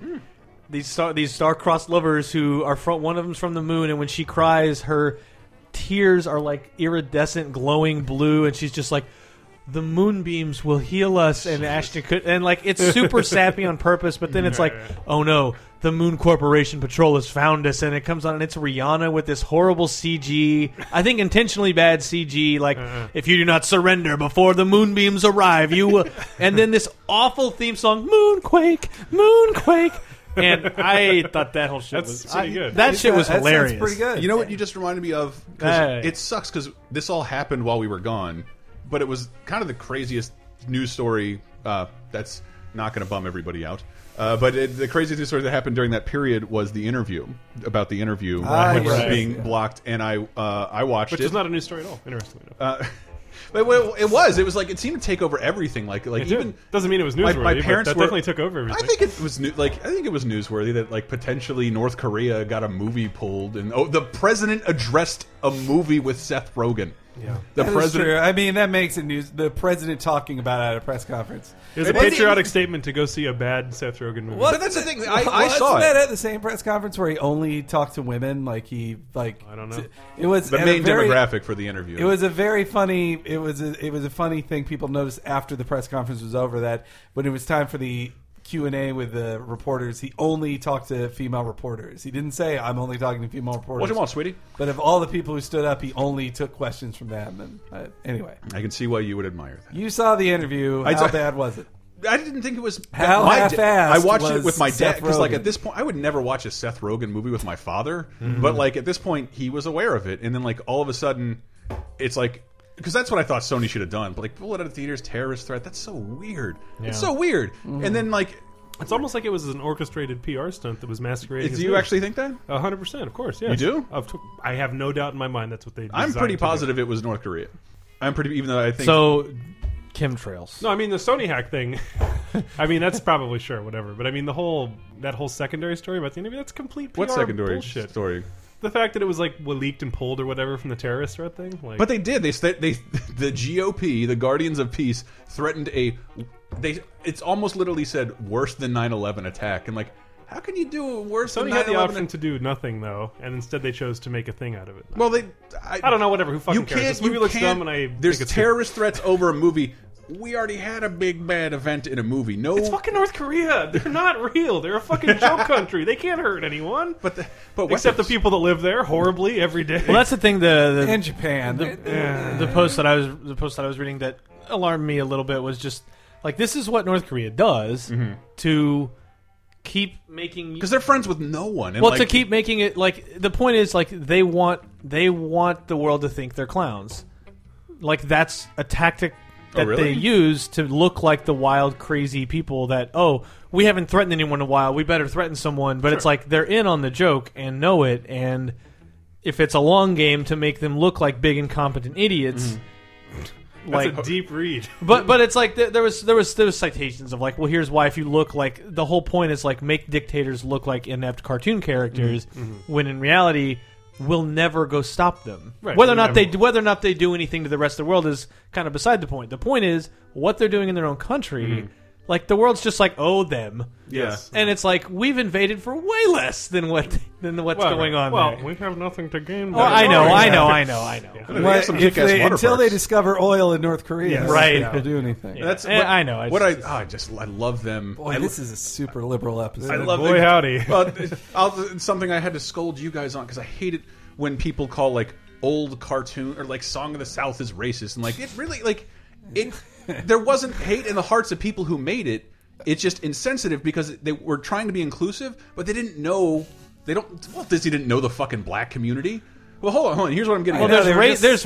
these star these star-crossed lovers who are from one of them's from the moon and when she cries her tears are like iridescent glowing blue and she's just like the moonbeams will heal us and Ashton could and like it's super sappy on purpose but then it's like oh no the moon corporation patrol has found us and it comes on and it's Rihanna with this horrible CG I think intentionally bad CG like if you do not surrender before the moonbeams arrive you will and then this awful theme song moonquake moonquake and I thought that whole shit That's was pretty I- good. That shit was that sounds hilarious. pretty good. You know what you just reminded me of? 'Cause Hey. It sucks because this all happened while we were gone, but it was kind of the craziest news story uh, that's not going to bum everybody out. Uh, but it, the craziest news story that happened during that period was the interview about the interview Ah, which was yes. being blocked, and I uh, I watched Which it. is not a new story at all, interestingly enough. uh, but it- it was. It was like it seemed to take over everything. Like like It did. even doesn't mean it was my- newsworthy, my parents but that were- definitely took over everything. I think it was new, like I think it was newsworthy that like potentially North Korea got a movie pulled and oh the president addressed a movie with Seth Rogen. Yeah. The That is president. true. I mean, that makes it news. The president talking about it at a press conference. It was a What's he- patriotic statement to go see a bad Seth Rogen movie. But that's the thing. I, Well, I saw isn't that it. at the same press conference where he only talked to women? Like he like I don't know. t- It was The at a main very- demographic for the interview. It was a very funny. It was a, it was a funny thing people noticed after the press conference was over that when it was time for the Q and A with the reporters, he only talked to female reporters. He didn't say I'm only talking to female reporters. Watch them all, sweetie. But of all the people who stood up, he only took questions from them. And uh, anyway, I can see why you would admire that. you saw the interview. I How d- bad was it? I didn't think it was How my half-assed da- I watched it was with my dad Seth because, like, Rogen? at this point, I would never watch a Seth Rogen movie with my father. Mm-hmm. But like at this point, he was aware of it, and then like all of a sudden, it's like because that's what I thought Sony should have done. But like, pull it out of theaters, terrorist threat. That's so weird. It's so weird. Mm-hmm. And then like, It's almost like it was an orchestrated PR stunt that was masquerading. do you actually think that? hundred percent, of course. Yes. You do? I've t- I have no doubt in my mind that's what they. I'm designed pretty to do. positive it was North Korea. I'm pretty, even though I think So, chemtrails. No, I mean the Sony hack thing. I mean that's probably sure, whatever. But I mean the whole that whole secondary story about the interview that's complete. PR what secondary bullshit? story? The fact that it was like well, leaked and pulled or whatever from the terrorist threat thing. Like, But they did. They st- they the GOP, the Guardians of Peace, threatened a they. It's almost literally said worse than 9/11 attack, and like, how can you do a worse Sony than had the 9/11? option to do nothing though, and instead they chose to make a thing out of it. well, they. I, I don't know, whatever. Who fucking You cares? can't. This movie you looks can't, dumb, and I there's think it's terrorist threats over a movie. We already had a big bad event in a movie. No, It's fucking North Korea. They're not real. They're a fucking joke country. They can't hurt anyone. but the, but except the weapons- people that live there horribly every day. Well, that's the thing. The, the In Japan, the, the post that I was the post that I was reading that alarmed me a little bit was just like this is what North Korea does to keep making because they're friends with no one. And well like, to keep making it like the point is like they want they want the world to think they're clowns like that's a tactic that Oh, really? they use to look like the wild crazy people that oh we haven't threatened anyone in a while we better threaten someone but it's like they're in on the joke and know it and if it's a long game to make them look like big incompetent idiots Mm-hmm. That's like a deep read. but but it's like th- there was there was there was citations of like well here's why if you look like the whole point is like make dictators look like inept cartoon characters Mm-hmm, when in reality we'll never go stop them Right, whether or we not they never- whether or not they do anything to the rest of the world is kind of beside the point the point is what they're doing in their own country Mm-hmm. like the world's just like oh them yeah. and it's like we've invaded for way less than what than what's going on Well, there. we have nothing to gain. Well, I know, I know, I know, I know. They What- have some if kick-ass they- water until parks. they discover oil in North Korea, Right. They'll do anything. That's Eh, what, I know, I what just- I, I just I love them. Boy, I this is a super liberal episode. I love Boy, it. howdy. Well, I'll, something I had to scold you guys on because I hate it when people call like old cartoon or like Song of the South is racist and like it really like it. There wasn't hate in the hearts of people who made it. It's just insensitive because they were trying to be inclusive, but they didn't know. They don't. Walt Disney didn't know the fucking black community. Well, hold on, hold on. Here's what I'm getting. Well, at. Yeah, they there's were ra- just- there's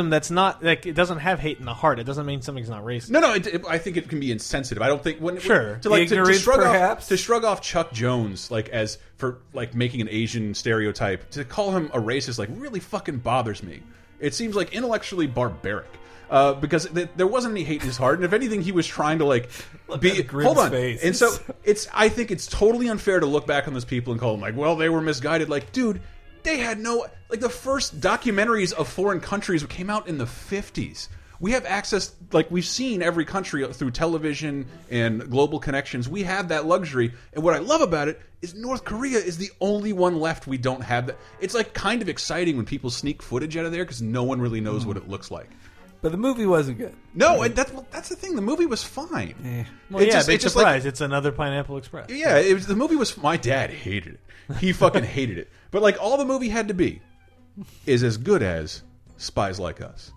racism that's not like it doesn't have hate in the heart. It doesn't mean something's not racist. No, no. It, it- I think it can be insensitive. I don't think when Sure. to like to- to, Ignorance, shrug off perhaps? to shrug off Chuck Jones like as for like making an Asian stereotype to call him a racist like really fucking bothers me. It seems like intellectually barbaric. Uh, because th there wasn't any hate in his heart, and if anything, he was trying to like be that grim hold on. face. And so it's I think it's totally unfair to look back on those people and call them like, well, they were misguided. Like, dude, they had no like the first documentaries of foreign countries came out in the fifties. We have access, like we've seen every country through television and global connections. We have that luxury, and what I love about it is North Korea is the only one left we don't have. That it's like kind of exciting when people sneak footage out of there because no one really knows what it looks like. but the movie wasn't good. No, and that's that's the thing. The movie was fine. Eh. Well, yeah, big it's just like- surprise. it's another Pineapple Express. yeah, it was, the movie was. My dad hated it. He fucking hated it. But like, all the movie had to be is as good as Spies Like Us,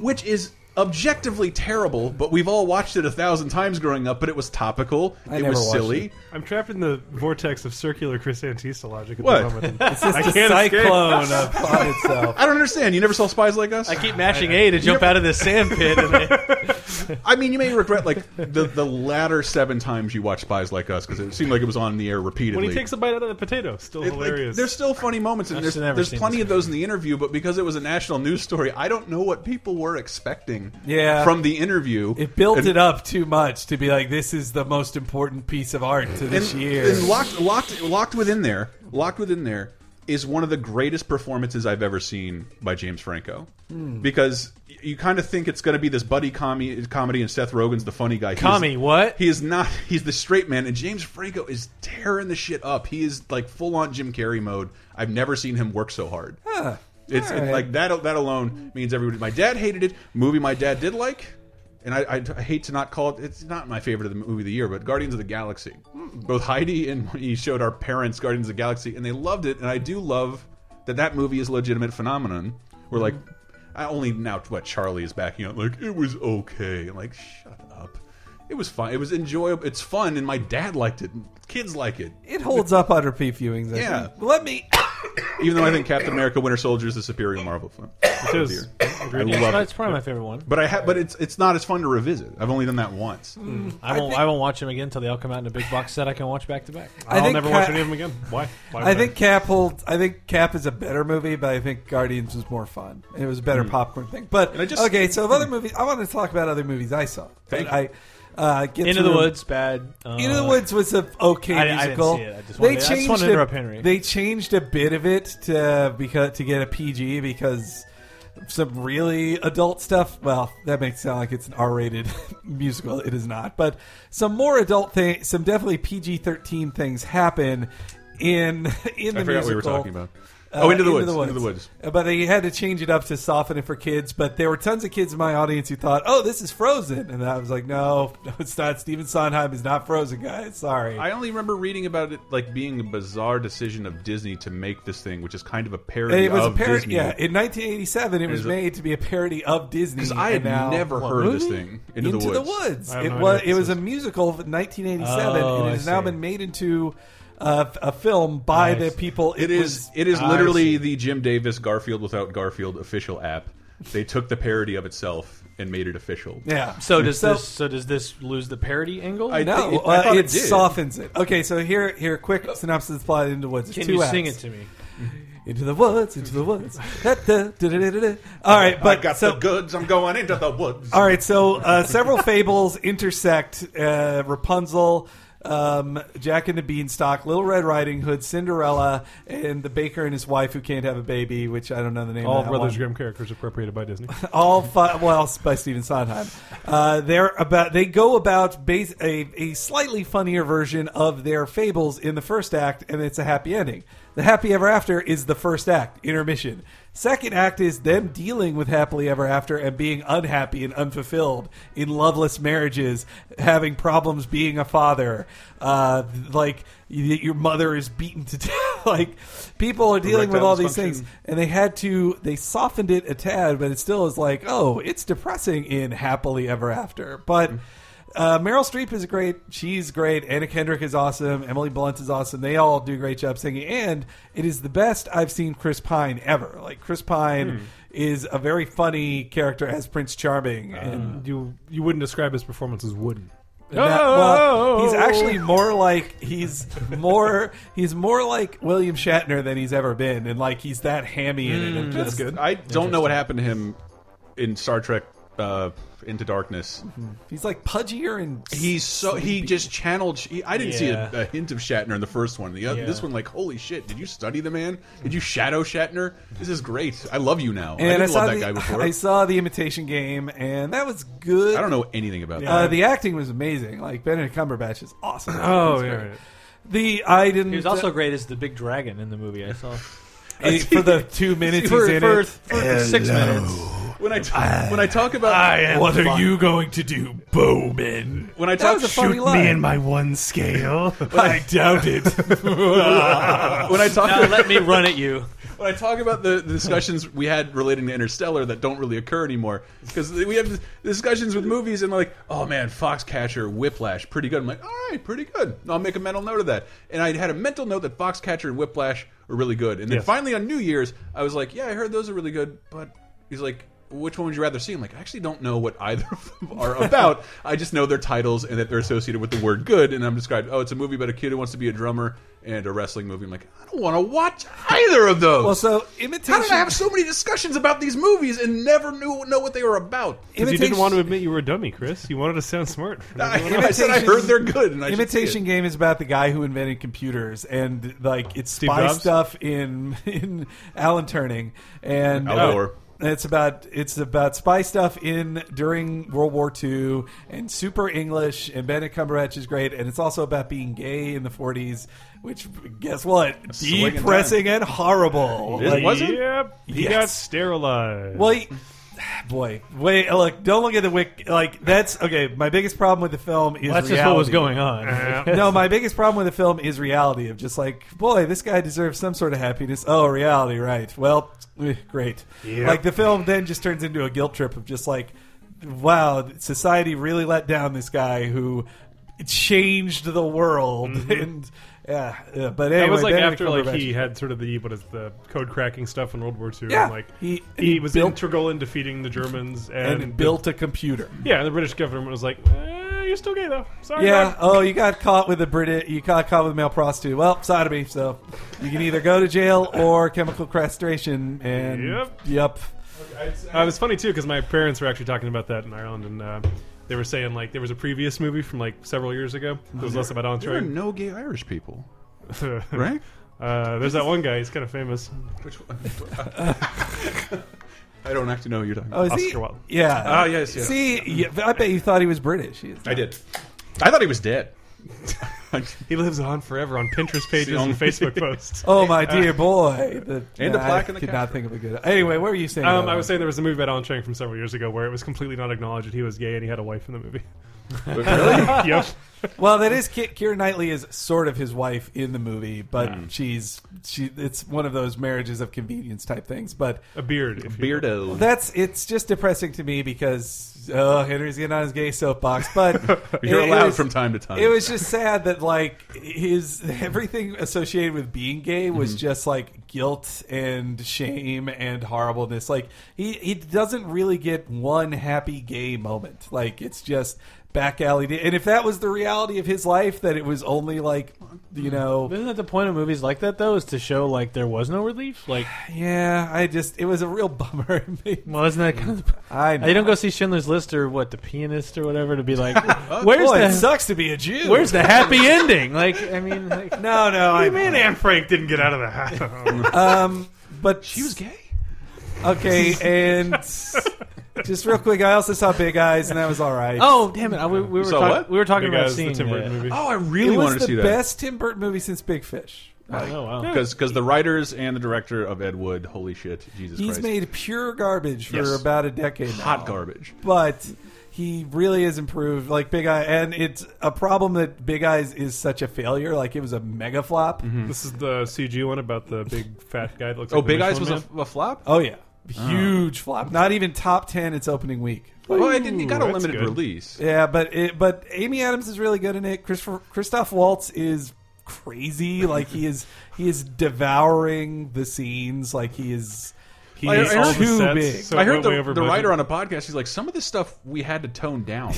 which is objectively terrible. But we've all watched it a thousand times growing up. But it was topical. it never was watched silly. it. I'm trapped in the vortex of circular Chris Antista logic at What? the moment. it's It's I just can't a escape. cyclone of thought itself. I don't understand. You never saw Spies Like Us. I keep mashing A to jump out of this sand pit. And I, I mean, you may regret like the the latter seven times you watched Spies Like Us because it seemed like it was on the air repeatedly. When he takes a bite out of the potato, still It- like, hilarious. there's still funny moments, and I've there's, never there's seen plenty this of those in the interview. But because it was a national news story, I don't know what people were expecting. Yeah. from the interview, It built and, it up too much to be like, this is the most important piece of art to And, this year. and locked, locked, locked within there, locked within there is one of the greatest performances I've ever seen by James Franco. Hmm. Because y- you kind of think it's going to be this buddy comedy, comedy and Seth Rogen's the funny guy. He's- Commie, what? He is not. He's the straight man, and James Franco is tearing the shit up. He is like full on Jim Carrey mode. I've never seen him work so hard. It's, it's Alright. like that. That alone means everybody. My dad hated it. Movie my dad did like, and I, I, I hate to not call it. It's not my favorite of the movie of the year, but Guardians of the Galaxy. Hmm. Both Heidi and he showed our parents Guardians of the Galaxy, and they loved it. And I do love that that movie is a legitimate phenomenon. We're like, I only now what Charlie is backing up. Like it was okay. I'm like shut up. It was fun. It was enjoyable. It's fun, and my dad liked it. Kids like it. It holds up on repeat viewings. I Yeah. think. Let me. Even though I think Captain America: Winter Soldier is the superior Marvel film. It is. I Agreed. love it. That's probably my favorite one. But I ha- but it's it's not as fun to revisit. I've only done that once. Hmm. Mm. I won't. think- I won't watch them again until they all come out in a big box set I can watch back to back. I I'll think never Ca- watch any of them again. Why? Why I would think Cap holds. I think Cap is a better movie, but I think Guardians was more fun. It was a better popcorn thing. But Hmm. I just- okay, so of other movies, I want to talk about other movies I saw. Thank I uh, get Into the through- Woods, bad. Uh, Into the Woods was an okay I- I didn't musical. see it. I just wanted- I just wanted to a- interrupt Henry. They changed a bit of it to because to get a PG because some really adult stuff. Well, that makes it sound like it's an R-rated musical. It is not, but some more adult thing, some definitely PG-13 things happen in in the I forgot musical. what we were talking about. Uh, oh, into the, woods, Into the woods. Uh, But they had to change it up to soften it for kids. But there were tons of kids in my audience who thought, "Oh, this is Frozen," and I was like, "No, no, it's not. Steven Sondheim is not Frozen, guys. Sorry." I only remember reading about it like being a bizarre decision of Disney to make this thing, which is kind of a parody it was a of parody. Disney. Yeah, in 1987, it was a- made to be a parody of Disney. because I and had now- never What, heard of this movie? thing. Into, the woods. Woods. I have It no was idea it what was this a musical of 1987, Oh, and it I has now see. been made into uh, a film by the Nice. people. It is. was- It is I literally see. the Jim Davis Garfield without Garfield official app. They took the parody of itself and made it official. yeah. So does this? So does this lose the parody angle? I No, think it- it, I uh, thought it, it did. softens it. Okay, so here, here, quick synopsis of the plot into the woods. It's can two you acts. sing it to me? Into the woods, into the woods. Da, da, da, da, da, da. All right, but I got so the goods. I'm going into the woods. all right, so uh, several fables intersect uh, Rapunzel, um, Jack and the Beanstalk, Little Red Riding Hood, Cinderella, and the baker and his wife who can't have a baby, which I don't know the name. All of that Brothers one. Grimm characters appropriated by Disney. all fi- well it's by Stephen Sondheim. Uh, they're about they go about base, a, a slightly funnier version of their fables in the first act, and it's a happy ending. The happy ever after is the first act intermission. Second act is them dealing with happily ever after and being unhappy and unfulfilled in loveless marriages, having problems being a father, uh, like y- your mother is beaten to death. like people are dealing with Erectile all these dysfunction. things and they had to they softened it a tad but it still is like oh it's depressing in happily ever after but uh, meryl streep is great she's great anna kendrick is awesome emily blunt is awesome they all do a great job singing and it is the best i've seen chris pine ever like chris pine is a very funny character as prince charming and you you wouldn't describe his performance as wooden. and that- well, he's actually more like he's more he's more like William Shatner than he's ever been, and like he's that hammy in it. And just, I don't know what happened to him in Star Trek uh, Into Darkness. He's like pudgier and He's so he just channeled. He, I didn't see Yeah. a, a hint of Shatner in the first one. The oth- this one, like, holy shit! Did you study the man? Did you shadow Shatner? This is great. I love you now. I And I, didn't saw love that the, guy before. I I, saw the Imitation Game, and that was good. don't know anything about Uh, that. the acting was amazing. Like Benedict Cumberbatch is awesome. Oh He's yeah, great. right. The I didn't. He was also great as the big dragon in the movie I saw. uh, for the two minutes for he's in for, it. for six minutes. when I t- when I talk about What are you? going to do, Bowman? when I That talk was a funny line. my one scale. I doubt it. when I talk Now let me run at you. when I talk about the, the discussions we had relating to Interstellar that don't really occur anymore, because we have discussions with movies and like, oh man, Foxcatcher, Whiplash, pretty good. I'm like, all right, pretty good. I'll make a mental note of that. And I had a mental note that Foxcatcher and Whiplash were really good. And then Yes. finally on New Year's, I was like, yeah, I heard those are really good, but he's like, which one would you rather see? I'm like, I actually don't know what either of them are about. I just know their titles and that they're associated with the word good. And I'm described, oh, it's a movie about a kid who wants to be a drummer and a wrestling movie. I'm like, I don't want to watch either of those. Well, so imitation. How did I have so many discussions about these movies and never knew know what they were about? Because you imitation- didn't want to admit you were a dummy, Chris. You wanted to sound smart. I, I said I heard they're good. And I should see it. Imitation Game is about the guy who invented computers and like it's spy Jobs? stuff in in Alan Turning and Al Gore. and It's about it's about spy stuff in during World War II and super English and Benedict Cumberbatch is great and it's also about being gay in the 40s, which guess what, swinging depressing and horrible. It Like, wasn't? Yep. He Yes. got sterilized. well, he- boy, wait, look, don't look at the wiki. Like that's okay. My biggest problem with the film is that's just what was reality going on. no, my biggest problem with the film is reality of just like, boy, this guy deserves some sort of happiness. Oh, reality, right. Well, eh, great. Like the film then just turns into a guilt trip of just like, wow, society really let down this guy who changed the world and yeah, yeah. But anyway, Mm-hmm. that was like Benedict after like Cumberbatch- he had sort of the what is the code cracking stuff in World War II. Yeah. and, like He- he, he was built- integral in defeating the Germans and, and built a computer. Yeah, and the British government was like, eh, "You're still gay though." Sorry. Yeah. bud." Oh, you got caught with a Brit. You got caught with a male prostitute. Well, sodomy. So you can either go to jail or chemical castration. And Yep. yep. Uh, it was funny too because my parents were actually talking about that in Ireland, and uh, they were saying like there was a previous movie from like several years ago that Oh, was less about There are entree. no gay Irish people, right? uh, there's that one guy; he's kind of famous. Which one? I don't actually know who you're talking Oh, about. is he? Oscar Wilde. Yeah. Ah, yes, yes. See, yeah, I bet you thought he was British. He is I did. I thought he was dead. and He lives on forever on Pinterest the pages only- and Facebook posts. Oh my dear boy! The, And the I plaque in the could couch. not think of a good. Anyway, what were you saying? Um, about I was that? saying there was a movie about Alan Chang from several years ago where it was completely not acknowledged that he was gay and he had a wife in the movie. yep. Well, that is Ki- Keira Knightley is sort of his wife in the movie, but Hmm. she's she. It's one of those marriages of convenience type things. But A beard. If you will. Beardo. that's it's just depressing to me because oh, Henry's getting on his gay soapbox, but You're it- it allowed was- from time to time. It was just sad that like his everything associated with being gay Mm-hmm. was just like guilt and shame and horribleness. Like he he doesn't really get one happy gay moment. Like it's just back alley. da- And if that was the reality of his life, that it was only like Mm-hmm. you know, Isn't that the point of movies like that though? Is to show like there was no relief. Like, yeah. I just it was a real bummer. It made- well, isn't that kind of? The, I you don't go see Schindler's List or what, The Pianist or whatever, to be like, where's Oh, Boy, it the sucks to be a Jew. where's the happy ending? Like, I mean, like, no, no. I Man, Anne Frank didn't get out of the house. um, but she was gay. Okay, and just real quick, I also saw Big Eyes, and that was all right. oh damn it! I, we, we were saw talk- what? we were talking Big about Eyes, the seeing Tim Burton uh, movie. Oh, I it really was wanted to the see that best Tim Burton movie since Big Fish. Oh wow! because the writers and the director of Ed Wood, holy shit, Jesus He's Christ, made pure garbage for Yes. about a decade now. hot garbage. but he really has improved. Like Big Eye, and it's a problem that Big Eyes is such a failure. Like it was a mega flop. Mm-hmm. This is the CG one about the big fat guy that looks Hmm. Oh, like the Big Eyes was Michelin a, a flop. Oh yeah, Uh-huh. huge flop. Not even top ten its opening week. Like, Well, Oh, it, didn't, it got a that's limited good. release. Yeah, but it, but Amy Adams is really good in it. Christopher Christoph Waltz is crazy. Like he is he is devouring the scenes. Like he is he Man. I- is I heard- too All the sets, big. so I it heard went way the, over the budget. writer on a podcast. He's like, some of this stuff we had to tone down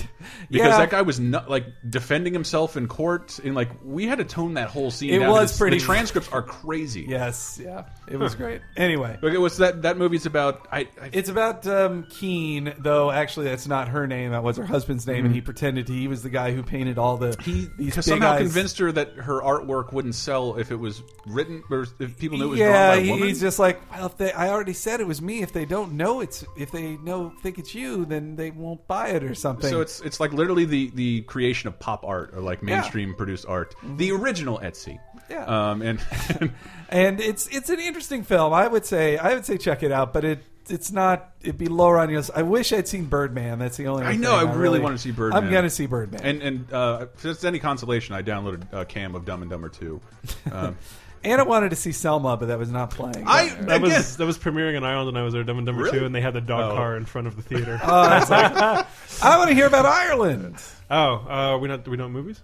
because Yeah. that guy was not like defending himself in court, and like we had to tone that whole scene. It down was It's- pretty- The transcripts are crazy. yes, yeah, it was great. Anyway, Okay, what's that? That movie's about. I, I it's about um, Keen, though. Actually, that's not her name. That was her husband's name, and he pretended he was the guy who painted all the Mhm. he these big somehow eyes. convinced her that her artwork wouldn't sell if it was written or if people knew it was yeah, drawn by a he- woman. he's just like, well, if they, I already said it was me. If they don't know it's, if they know think it's you, then they won't buy it or something. so it's it's like literally the the creation of pop art or like mainstream produced art, the original Etsy. Mm-hmm. Yeah. Um, and and it's it's an interesting film. I would say I would say check it out, but it it's not it'd be lower on your. I wish I'd seen Birdman. That's the only. I thing know I really, want to see Birdman. I'm gonna see Birdman. And, And and uh, if it's any consolation, I downloaded uh, Cam of Dumb and Dumber Two. Um, I wanted to see Selma, but that was not playing. I That again, was, that was premiering in Ireland and I was there, Dumb and Dumber Really? 2, and they had the dog Oh. car in front of the theater. Oh, that's like- I want to hear about Ireland. oh, uh, we not, do we know movies?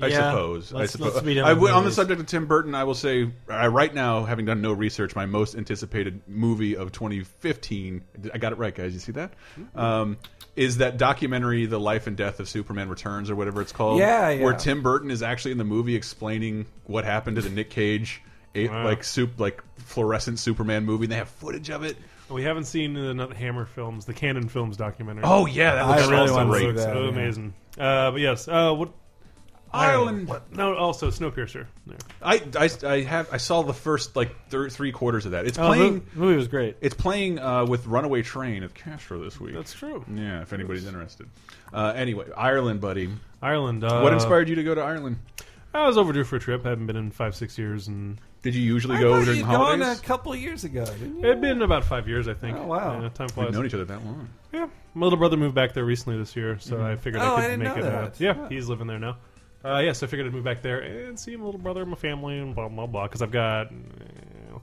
I Yeah. suppose. I Let's- suppose. let's meet him I in would- on the movies. subject of Tim Burton, I will say, I, right now, having done no research, my most anticipated movie of 2015, I got it right, guys. You see that? Um, is that documentary, The Life and Death of Superman Returns, or whatever it's called? Yeah, yeah. Where Tim Burton is actually in the movie explaining what happened to the Nick Cage, a, like soup, like fluorescent Superman movie. And they have footage of it. We haven't seen the n- Hammer films, the Canon films documentary. Oh yeah, that I looks really awesome. wanna see Great. that, so yeah. Oh, amazing. Uh, but yes, uh, what Ireland. No, also Snowpiercer. Yeah. I, I, I have I saw the first like thir three quarters of that. It's Oh, the playing. mo- movie was great. It's playing uh, with Runaway Train at Castro this week. That's true. yeah, if anybody's interested. Uh, anyway, Ireland, buddy. Ireland. Uh, what inspired you to go to Ireland? I was overdue for a trip. I haven't been in five, six years, and Did you usually I go thought during you'd gone a holidays? couple years ago. Didn't it you? had been about five years, I think. Oh, wow. Yeah, time flies. We've known each other that long. Yeah, my little brother moved back there recently this year, Mm-hmm. so I figured Oh, I I could didn't make know it. Uh, that. yeah, Yeah. he's living there now. Uh, yeah, so I figured I'd move back there and see my little brother, and my family, and blah blah blah. Because I've got uh,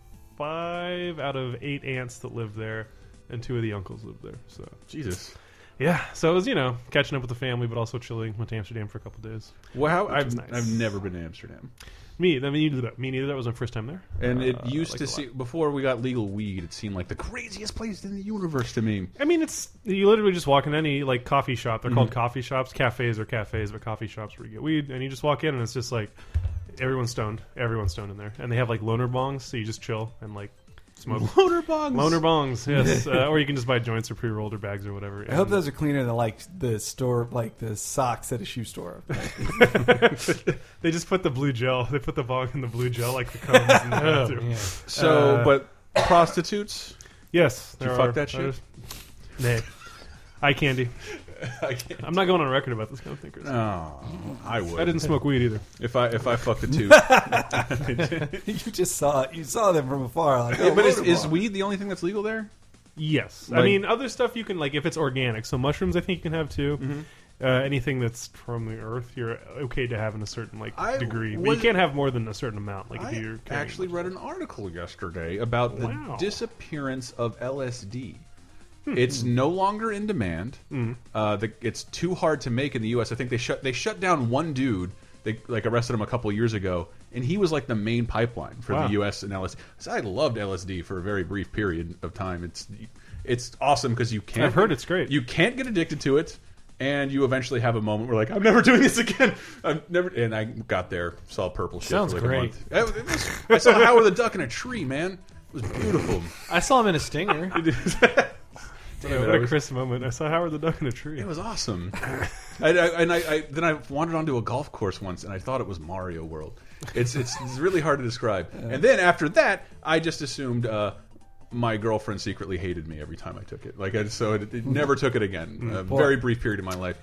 five out of eight aunts that live there, and two of the uncles live there. So Jesus. yeah, so it was you know catching up with the family, but also chilling. Went to Amsterdam for a couple days. Well, how, I've was nice. I've never been to Amsterdam, Me, I mean, you did that. Me neither. That was my first time there. and it Uh, I used liked to it a lot. see before we got legal weed. It seemed like the craziest place in the universe to me. I mean, it's you literally just walk in any like coffee shop. They're Mhm. called coffee shops. Cafes are cafes, but coffee shops where you get weed, and you just walk in, and it's just like everyone's stoned. Everyone's stoned in there, and they have like loner bongs, so you just chill and like smoke Loner bongs. loner bongs. Yes, uh, or you can just buy joints or pre-rolled or bags or whatever. I hope those are cleaner than like the store, like the socks at a shoe store. they just put the blue gel. They put the bong in the blue gel, like the cones. in the bathroom. So, Uh, but prostitutes. Yes, Did you there fuck are- that shit? Nay, eye candy. I can't. I'm not going on record about this kind of thing. Chris. Oh, I would. I didn't smoke weed either. If I if I fucked a two. you just saw you saw them from afar. Like, oh, but is, Lodebar. is weed the only thing that's legal there? Yes, I Like- mean other stuff you can like if it's organic. So mushrooms, I think you can have too. Mm-hmm. Uh, anything that's from the earth, you're okay to have in a certain like I degree, but you was- can't have more than a certain amount. Like if I you're carrying actually it. read an article yesterday about the Wow. Hmm. disappearance of LSD. It's no longer in demand. Uh, the, it's too hard to make in the U.S. I think they shut they shut down one dude. They like arrested him a couple years ago, and he was like the main pipeline for Wow. the U.S. and LSD. So I loved LSD for a very brief period of time. It's it's awesome because you can't. I've heard it's great. You can't get addicted to it, and you eventually have a moment where like I'm never doing this again. I'm never. And I got there, saw purple shit. Sounds for, like, a great. month. I, it was, I saw Howard the Duck in a tree, man. It was beautiful. I saw him in a stinger. What a- it, what I a was- Chris moment! I saw Howard the Duck in a tree. It was awesome. I, I, and I, I then I wandered onto a golf course once, and I thought it was Mario World. It's it's, it's really hard to describe. And then after that, I just assumed. Uh, my girlfriend secretly hated me every time I took it. Like I, so, it, it never took it again. A very brief period of my life.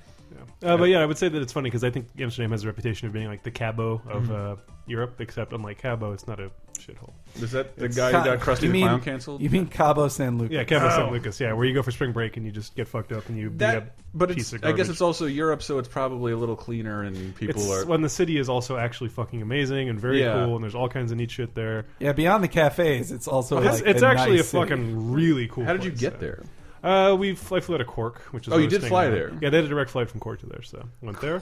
Uh, but yeah, I would say that it's funny because I think Amsterdam has a reputation of being like the Cabo of Mm-hmm. uh, Europe, except unlike Cabo, it's not a shithole. Is that the guy who got Krusty You the mean- Clown canceled? You mean Cabo San Lucas? Yeah, Cabo San Lucas. Yeah, where you go for spring break and you just get fucked up and you that, be a but it's, piece of I guess garbage. it's also Europe, so it's probably a little cleaner, and people It's are. when the city is also actually fucking amazing and very Yeah. cool, and there's all kinds of neat shit there. Yeah, beyond the cafes, it's also It's, like it's a actually nice a city. fucking really cool. How did you place, get so. there? Uh, we fly, flew out of Cork, which is Oh, you where I was did staying fly at. there. Yeah, they had a direct flight from Cork to there, so went there.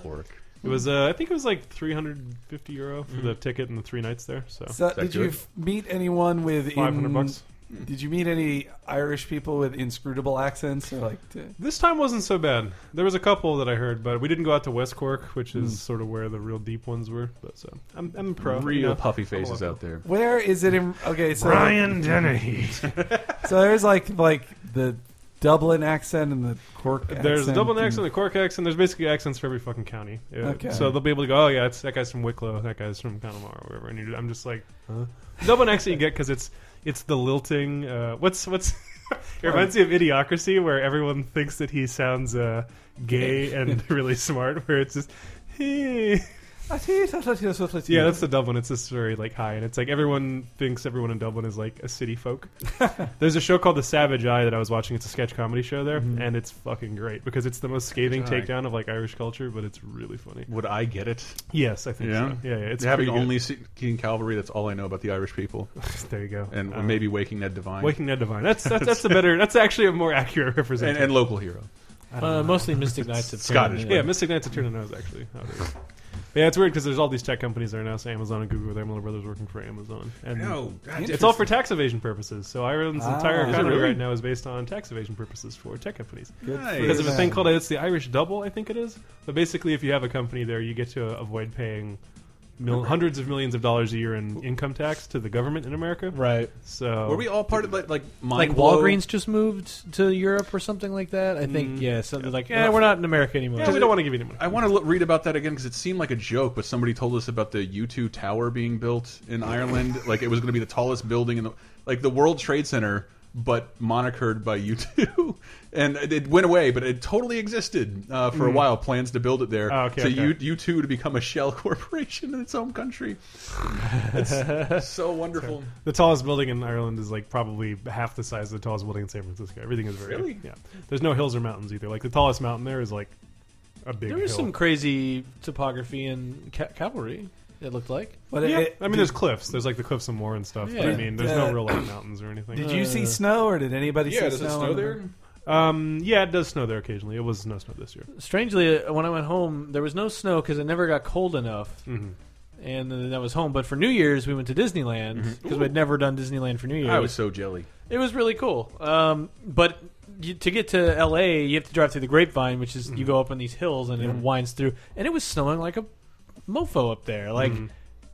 It was uh, I think it was like 350 euro for the ticket and the three nights there. So, So, that did good? you f- meet anyone with 500 bucks. Did you meet any Irish people with inscrutable accents? Or like, t- this time wasn't so bad. There was a couple that I heard, but we didn't go out to West Cork, which Mm. is sort of where the real deep ones were. But so I'm I'm pro. you Real know. puffy faces out there. where is it? In okay, so Brian Dennehy. so there's like like the Dublin accent and the Cork. There's the accent Dublin and- accent, the Cork accent. There's basically accents for every fucking county. Yeah. Okay. So they'll be able to go, oh yeah, it's, that guy's from Wicklow, that guy's from Connemara, or wherever. And you're, I'm just like, huh? Dublin accent you get because it's it's the lilting. Uh, what's what's it reminds me of Idiocracy, where everyone thinks that he sounds uh, gay and really smart, where it's just. "Hey." Yeah, that's the Dublin. It's this very like high, and it's like everyone thinks everyone in Dublin is like a city folk. There's a show called The Savage Eye that I was watching. It's a sketch comedy show there, and it's fucking great because it's the most scathing Mm-hmm. Eye. takedown of like Irish culture, but it's really funny. Would I get it? Yes, I think Yeah, so. Yeah, yeah. It's having pretty good. only seen King Calvary. That's all I know about the Irish people, there you go. and Uh, maybe Waking Ned Divine, Waking Ned Divine. That's that's that's a better. That's actually a more accurate and, representation. and local hero. Uh, mostly Mystic Knights of Scottish, Turin, yeah, Mystic Knights of Turn the Nose actually. how it is. But yeah, it's weird because there's all these tech companies that are now saying Amazon and Google with their Miller Brothers working for Amazon. And No, God, It's all for tax evasion purposes. So Ireland's Ah. entire Is it economy really? right now is based on tax evasion purposes for tech companies. nice. Because of a Yeah. thing called it's the Irish double, I think it is. But basically, if you have a company there, you get to avoid paying mil- hundreds of millions of dollars a year in income tax to the government in America. Right. So Were we all part of like like, mind Like blow? Walgreens just moved to Europe or something like that. I think Mm-hmm. yeah, something like yeah, we're not in America anymore. Yeah, we don't want to give you any money. I want to look, read about that again because it seemed like a joke, but somebody told us about the U2 tower being built in Ireland. like it was going to be the tallest building in the like the World Trade Center, but monikered by U2, and it- it went away. But it totally existed uh, for a while. Plans to build it there, Oh, okay, so okay. U U2 to become a shell corporation in its own country. It's so wonderful. The tallest building in Ireland is like probably half the size of the tallest building in San Francisco. Everything is very Really? yeah. There's no hills or mountains either. Like the tallest mountain there is like a big. There was hill. some crazy topography and ca- cavalry. It looked like. But Yeah, it- I mean, did- there's cliffs. There's like the cliffs of Moore and stuff. But I Yeah. mean, there's Yeah. no real like mountains or anything. Did you see snow, or did anybody Yeah, see does it snow, snow on the- there? Um, yeah, it does snow there occasionally. It was no snow this year. Strangely, uh, when I went home, there was no snow because it never got cold enough, Mm-hmm. and then that was home. But for New Year's, we went to Disneyland because we'd never done Disneyland for New Year's. I was so jelly. It was really cool. Um, but you, to get to L.A., you have to drive through the Grapevine, which is you go up on these hills and it winds through. And it was snowing like a mofo up there, like Mm-hmm.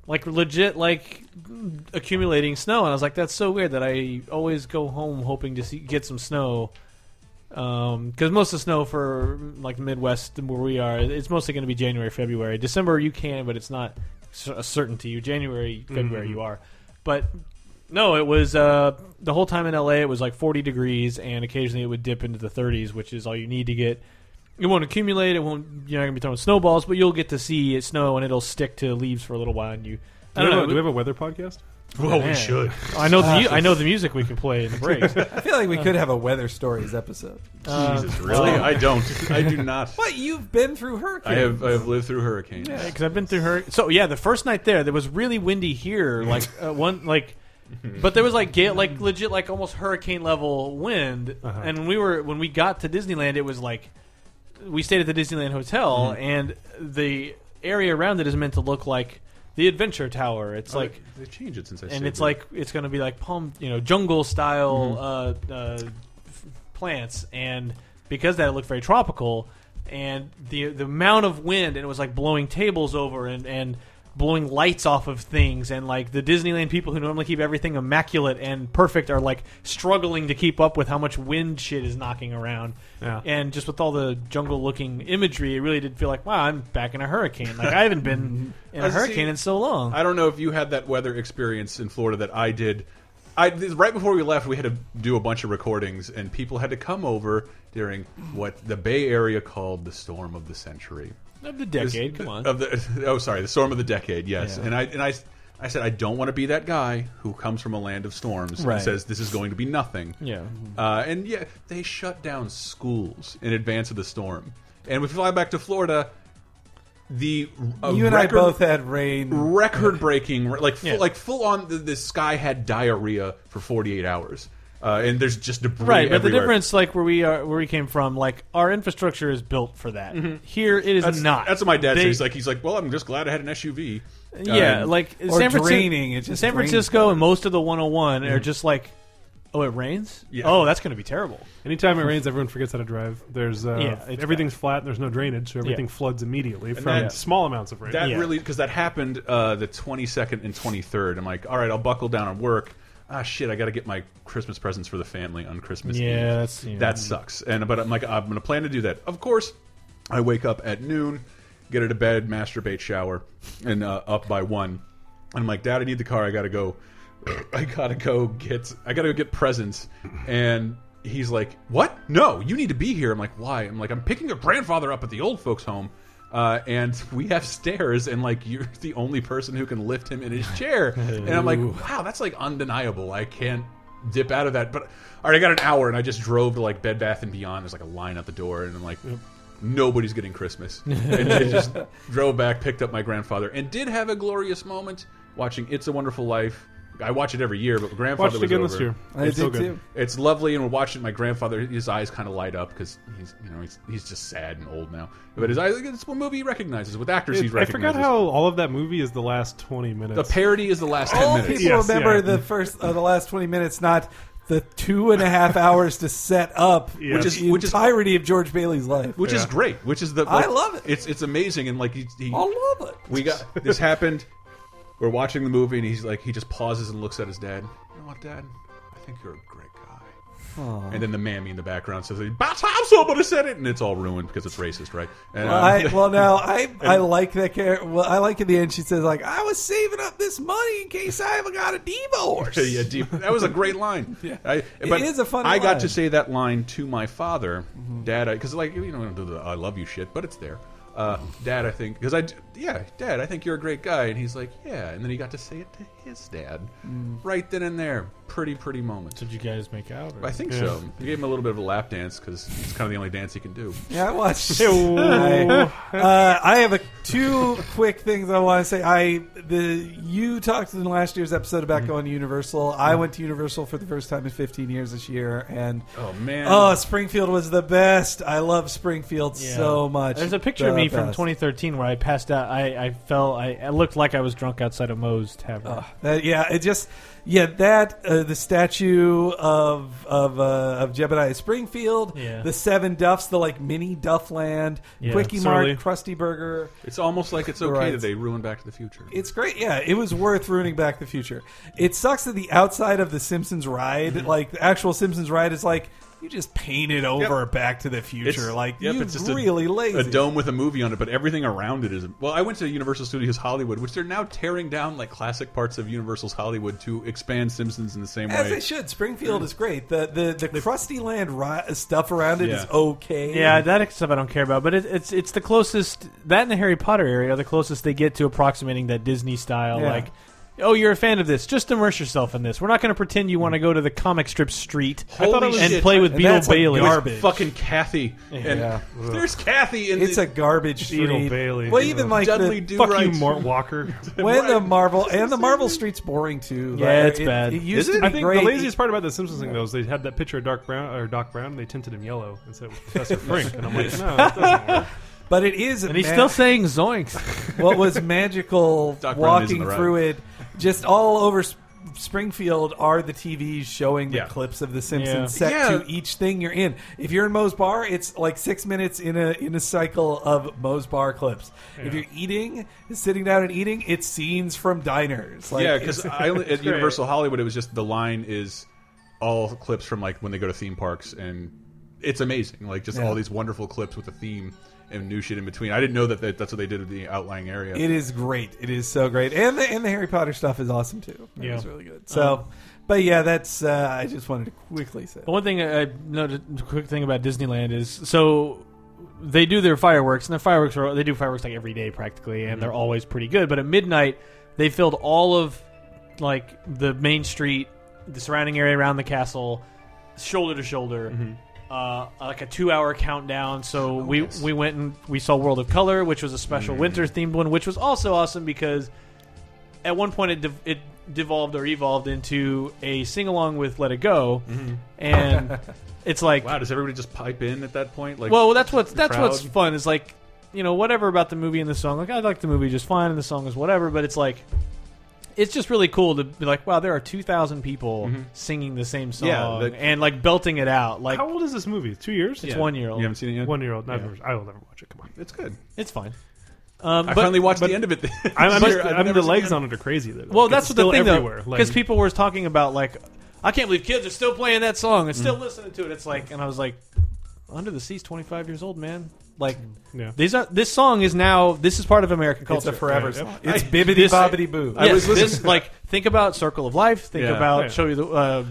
like legit, like accumulating snow. And I was like, that's so weird that I always go home hoping to see, get some snow. Because most of the snow for like the Midwest and where we are, it's mostly going to be January, February, December. You can, but it's not cer- a certainty. You January, February, you are. But no, it was uh, the whole time in LA. It was like 40 degrees, and occasionally it would dip into the 30s, which is all you need to get. It won't accumulate. It won't. You're not gonna be throwing snowballs, but you'll get to see it snow, and it'll stick to leaves for a little while. And you, I Do we don't have know. a- Do we have a weather podcast? well, we should. I know. The, mu- I know the music we can play in the breaks. I feel like we Uh, could have a weather stories episode. Jesus, really? I don't. I do not. But you've been through hurricanes. I have I have lived through hurricanes. because I've been through her. So yeah, the first night there, there was really windy here, like uh, one like, but there was like gale, like legit, like almost hurricane level wind. And when we were when we got to Disneyland, it was like we stayed at the Disneyland Hotel, and the area around it is meant to look like the Adventure Tower. It's Oh, like. they, they changed it since I. And saved it's it. like it's going to be like palm, you know, jungle style Mm-hmm. uh, uh, f- plants, and because that it looked very tropical, and the the amount of wind, and it was like blowing tables over and and blowing lights off of things, and like the Disneyland people who normally keep everything immaculate and perfect are like struggling to keep up with how much wind shit is knocking around, Yeah. and just with all the jungle looking imagery, it really did feel like wow, I'm back in a hurricane. Like I haven't been in Uh, a see, hurricane in so long. I don't know if you had that weather experience in Florida that I did. I this- right before we left, we had to do a bunch of recordings, and people had to come over during what the Bay Area called the storm of the century. of the This- decade, come on. Of the oh, sorry, the storm of the decade. Yes, and I and I. I said I don't want to be that guy who comes from a land of storms and Right. says this is going to be nothing. Yeah. Uh, and yeah, they shut down schools in advance of the storm. And we fly back to Florida. The uh, you and record, I both had rain. record breaking, like full, like full on. The, the sky had diarrhea for 48 hours, uh, and there's just debris. Right, but the everywhere. difference, like where we are, where we came from, like our infrastructure is built for that. Here, it is Mm-hmm. That's, not. That's what my dad They- said. He's like, he's like, well, I'm just glad I had an SUV. yeah, Um, like or San Francisco, draining, it just San rains Francisco and most of the 101 are just like, oh, it rains. Mm-hmm. Yeah. Oh, that's going to be terrible. Anytime it rains, everyone forgets how to drive. There's uh, Yeah, it's everything's flat. There's no drainage, so everything floods immediately from that- small amounts of rain. That Yeah. really because that happened uh, the 22nd and 23rd. I'm like, all right, I'll buckle down and work. Ah, shit, I got to get my Christmas presents for the family on Christmas Eve. Yeah, that's- yeah. that sucks. And but I'm like, I'm gonna plan to do that. Of course, I wake up at noon, get out of bed, masturbate, shower, and uh, up by one. And I'm like, Dad, I need the car. I gotta go. I gotta go get. I gotta go get presents. And he's like, What? No, you need to be here. I'm like, Why? I'm like, I'm picking your grandfather up at the old folks' home. Uh, and we have stairs, and like you're the only person who can lift him in his chair. And I'm like, wow, that's like undeniable. I can't dip out of that. But all right, I got an hour, and I just drove to like Bed Bath and Beyond. There's like a line at the door, and I'm like, nobody's getting Christmas. and I just drove back, picked up my grandfather, and did have a glorious moment watching It's a Wonderful Life I watch it every year, but my grandfather Watched it was again over. this year. I It's so did good. too. It's lovely, and we're watching. My grandfather, his eyes kind of light up because he's, you know, he's he's just sad and old now. But his eyes, like, it's one movie he recognizes with actors he It- I recognizes. forgot how all of that movie is the last 20 minutes. the parody is the last ten All minutes. people Yes, remember yeah. the first, uh, the last twenty minutes, not the two and a half hours to set up, Yes. which Which is is- the which is- entirety of George Bailey's life. which is Yeah. great. Which is the I like, love it. It's it's amazing, and like he, he I love it. we got this happened. We're watching the movie, and he's like, he just pauses and looks at his dad. You know what, Dad? I think you're a great guy. And then the mammy in the background says, "About time somebody said it," and it's all ruined because it's racist, right? And, um, I, well, now I I like that character. Well, I like in the end she says like I was saving up this money in case I ever got a divorce. yeah, deep. That was a great line. yeah, I, but is a funny I line. Mm-hmm. got to say that line to my father, Dad, because like you know, we don't do the "I love you" shit, but it's there. Uh, Mm-hmm. Dad, I think because I, d- yeah, Dad, I think you're a great guy, and he's like, yeah, and then he got to say it to his dad, Mm. right then and there. Pretty, pretty moment. Did you guys make out? or- I think so. He gave him a little bit of a lap dance because it's kind of the only dance he can do. Yeah, I watched. Ew. I, uh, I have a, two quick things I want to say. I the you talked in last year's episode about Mm. going to Universal. I went to Universal for the first time in 15 years this year, and Oh man! oh, Springfield was the best. I love Springfield Yeah. so much. There's a picture The of me from best. 2013 where I passed out. I, I fell. I, I looked like I was drunk outside of Moe's Tavern. Uh, yeah, it just yeah that uh, the statue of of uh, of Jebediah Springfield, Yeah. the Seven Duffs, the like mini Duffland, Yeah, Quickie Mart, Surly. Krusty Burger. it's almost like it's okay Right. that they ruined Back to the Future. It's great. Yeah, it was worth ruining Back to the Future. It sucks that the outside of the Simpsons ride, Mm-hmm. like the actual Simpsons ride, is like you just painted over Back to the Future. It's- like yep, you it's just a- really lazy. a dome with a movie on it, but everything around it is. Well, I went to Universal Studios Hollywood, which they're now tearing down like classic parts of Universal's Hollywood to expand Simpsons in the same As way. they should. Springfield is great. The the the Krusty Land ri- stuff around it is Yeah. okay. Yeah, that stuff I don't care about, but it, it's it's the closest that and the Harry Potter area are the closest they get to approximating that Disney style. Yeah. Like, oh, you're a fan of this, just immerse yourself in this. We're not going to pretend you want to go to the comic strip street Holy I thought it was- and shit. play Mm. with And Beetle that's, like, Bailey. garbage. Fucking Kathy. And there's Kathy in It's the, a garbage street. Beetle Bailey. Well, even like Dudley the, Do Fuck Right. you, Mort Walker. when the Marvel and the Marvel street's boring too. Yeah, Like, it's it- bad. It used Is to it? be I think great. the laziest part about the Simpsons thing though is they had that picture of Dark Brown or Doc Brown and they tinted him yellow and said it was Professor Frink and I'm like no that doesn't work. but it is. and he's ma- still saying zoinks. what was magical Doc Brown is walking in the ride. through it just all over S- Springfield are the TVs showing the Yeah. clips of the Simpsons Yeah. set Yeah. to each thing you're in. If you're in Moe's Bar, it's like six minutes in a in a cycle of Moe's Bar clips. If you're eating, sitting down and eating, it's scenes from diners. Like, yeah, it's- because I only- at Universal Hollywood, it was just the line is all clips from like when they go to theme parks, and it's amazing. Like just Yeah. all these wonderful clips with a theme and new shit in between. I didn't know that, that that's what they did with the outlying area. It is great. It is so great, and the and the Harry Potter stuff is awesome too. It Yeah. Um, was really good. So, but yeah, that's. Uh, I just wanted to quickly say. But one thing I I noted, the quick thing about Disneyland is so they do their fireworks, and their fireworks are they do fireworks like every day practically, and they're always pretty good. But at midnight, they filled all of like the main street, the surrounding area around the castle, shoulder to shoulder. Uh, like a two-hour countdown, so we yes. we went and we saw World of Color, which was a special winter-themed one, which was also awesome because at one point it, dev- it devolved or evolved into a sing along with Let It Go, and it's like, wow, does everybody just pipe in at that point? Like, well, that's what's that's crowd. what's fun is like, you know, whatever about the movie and the song. Like, I like the movie just fine, and the song is whatever, but it's like. It's just really cool to be like, wow, there are two thousand people singing the same song Yeah, that- and like belting it out. Like How old is this movie? Two years? it's one year you old. haven't seen it yet. One year old. I've never- I will never watch it. Come on. It's good. It's fine. Um, I but finally watched but- the end of it. I'm, I'm, this just- year. I've I'm- never the seen legs it. on it are crazy though. Well, Like, it's that's what the still thing everywhere. though, Like, because people were talking about like, I can't believe kids are still playing that song and still listening to it. It's like, and I was like, Under the Sea's twenty five years old, man. Like, Yeah. these are this song is now this is part of American It's culture a forever Yeah. song. It's bibbity bobbity boo. I Yes, was listening- this like think about Circle of Life. Think Yeah. about Yeah. show you the uh,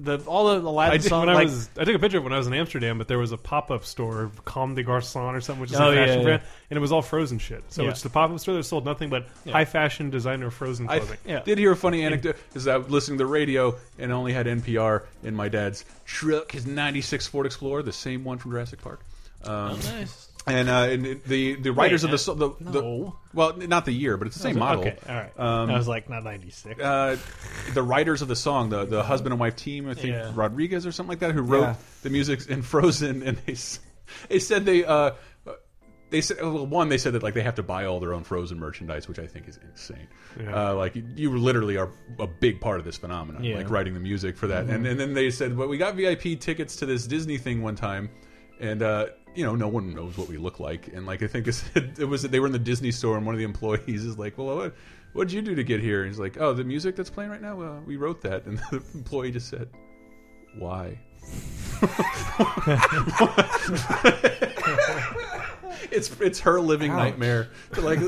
the all of the Aladdin I did, song. when I like, was, I took a picture of when I was in Amsterdam, but there was a pop up store, Comme des Garçons or something, which is Oh, a yeah, fashion yeah. brand, and it was all frozen shit. So Yeah. it's the pop up store that sold nothing but high fashion designer frozen I clothing. Yeah. did hear a funny anecdote because I was listening to the radio and only had NPR in my dad's truck, his '96 Ford Explorer, the same one from Jurassic Park. Um, Oh, nice. And, uh, and it- the the writers eh? Wait, of the, the, the no. well, not the year, but it's the same model. Okay, all right. Um, I was like, not 96. uh, the writers of the song, the the husband and wife team, I think Yeah. Rodriguez or something like that, who wrote Yeah. the music in Frozen, and they s- they said they uh, they said well, one they said that like they have to buy all their own Frozen merchandise, which I think is insane. Uh, like you literally are a big part of this phenomenon, Yeah. like writing the music for that, and and then they said, well, we got VIP tickets to this Disney thing one time, and. uh you know, no one knows what we look like, and like I think it, said, it was that they were in the Disney store, and one of the employees is like, "Well, what, what did you do to get here?" And he's like, "Oh, the music that's playing right now, uh, we wrote that." And the employee just said, "Why?" it's it's her living nightmare to like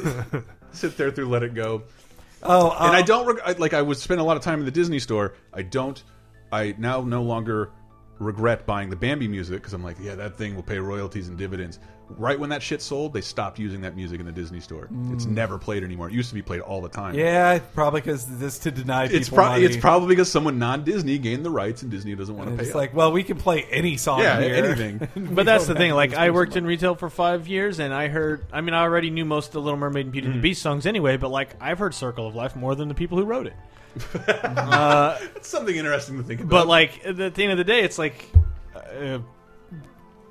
sit there through Let It Go. Oh, uh, And I don't reg- I, like I would spend a lot of time in the Disney store. I don't. I now no longer regret buying the Bambi music because I'm like, yeah, that thing will pay royalties and dividends. Right when that shit sold, they stopped using that music in the Disney store. It's never played anymore. It used to be played all the time. Mm. yeah, probably because this to deny people It's, pro- money. it's probably because someone non Disney gained the rights and Disney doesn't want to And pay. it's up. like, well, we can play any song yeah, here. anything. But that's the thing. Like, I worked in retail for five years, and I heard. I mean, I already knew most of the Little Mermaid and Beauty and the Beast songs anyway. But like, I've heard "Circle of Life" more than the people who wrote it. That's something interesting to think about. But like, at the end of the day, it's like uh,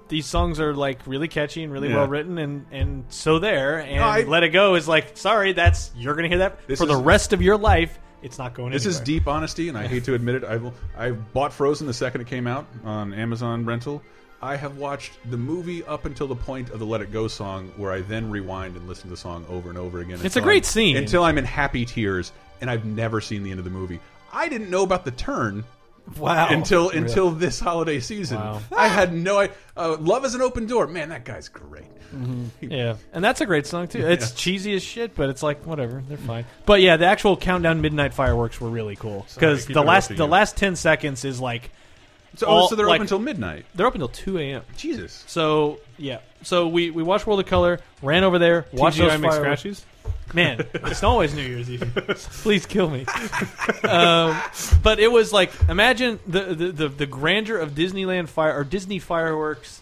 these songs are like really catchy and really Yeah. well written, and and so there. And I- "Let It Go" is like, sorry, that's you're gonna hear that This for the is- rest of your life. It's not going. This is anywhere. deep honesty, and I hate to admit it. I will. I bought Frozen the second it came out on Amazon rental. I have watched the movie up until the point of the Let It Go song, where I then rewind and listen to the song over and over again. It's a until great I'm- scene. Until I'm in happy tears, and I've never seen the end of the movie. I didn't know about the turn Wow. until until this holiday season. I had no idea. Uh, Love is an open door. Man, that guy's great. Yeah, and that's a great song too. It's cheesy as shit, but it's like whatever, they're fine. But yeah, the actual countdown midnight fireworks were really cool Sorry, I because keep the last interrupting the you. last ten seconds is like So, oh, All- so they're like- open until midnight. they're open till two a.m. Jesus. So yeah, so we we watched World of Color, ran over there, watched TGI those Mix fireworks. Scratchies? Man, it's always New Year's Eve. Please kill me. um, but it was like imagine the, the the the grandeur of Disneyland fire or Disney fireworks,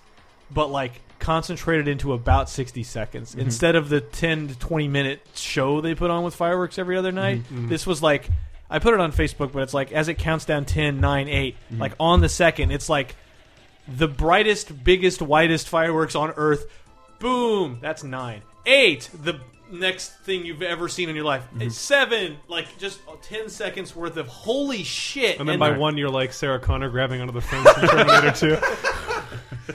but like concentrated into about sixty seconds Mm-hmm. instead of the ten to twenty minute show they put on with fireworks every other night. Mm-hmm. This was like I put it on Facebook, but it's like as it counts down 10, 9, 8, Mm-hmm. like on the second, it's like the brightest, biggest, widest fireworks on Earth. Boom! That's nine. Eight! The next thing you've ever seen in your life. Mm-hmm. Seven! Like, just 10 seconds worth of holy shit. And then by one, you're like Sarah Connor grabbing onto the fence in Terminator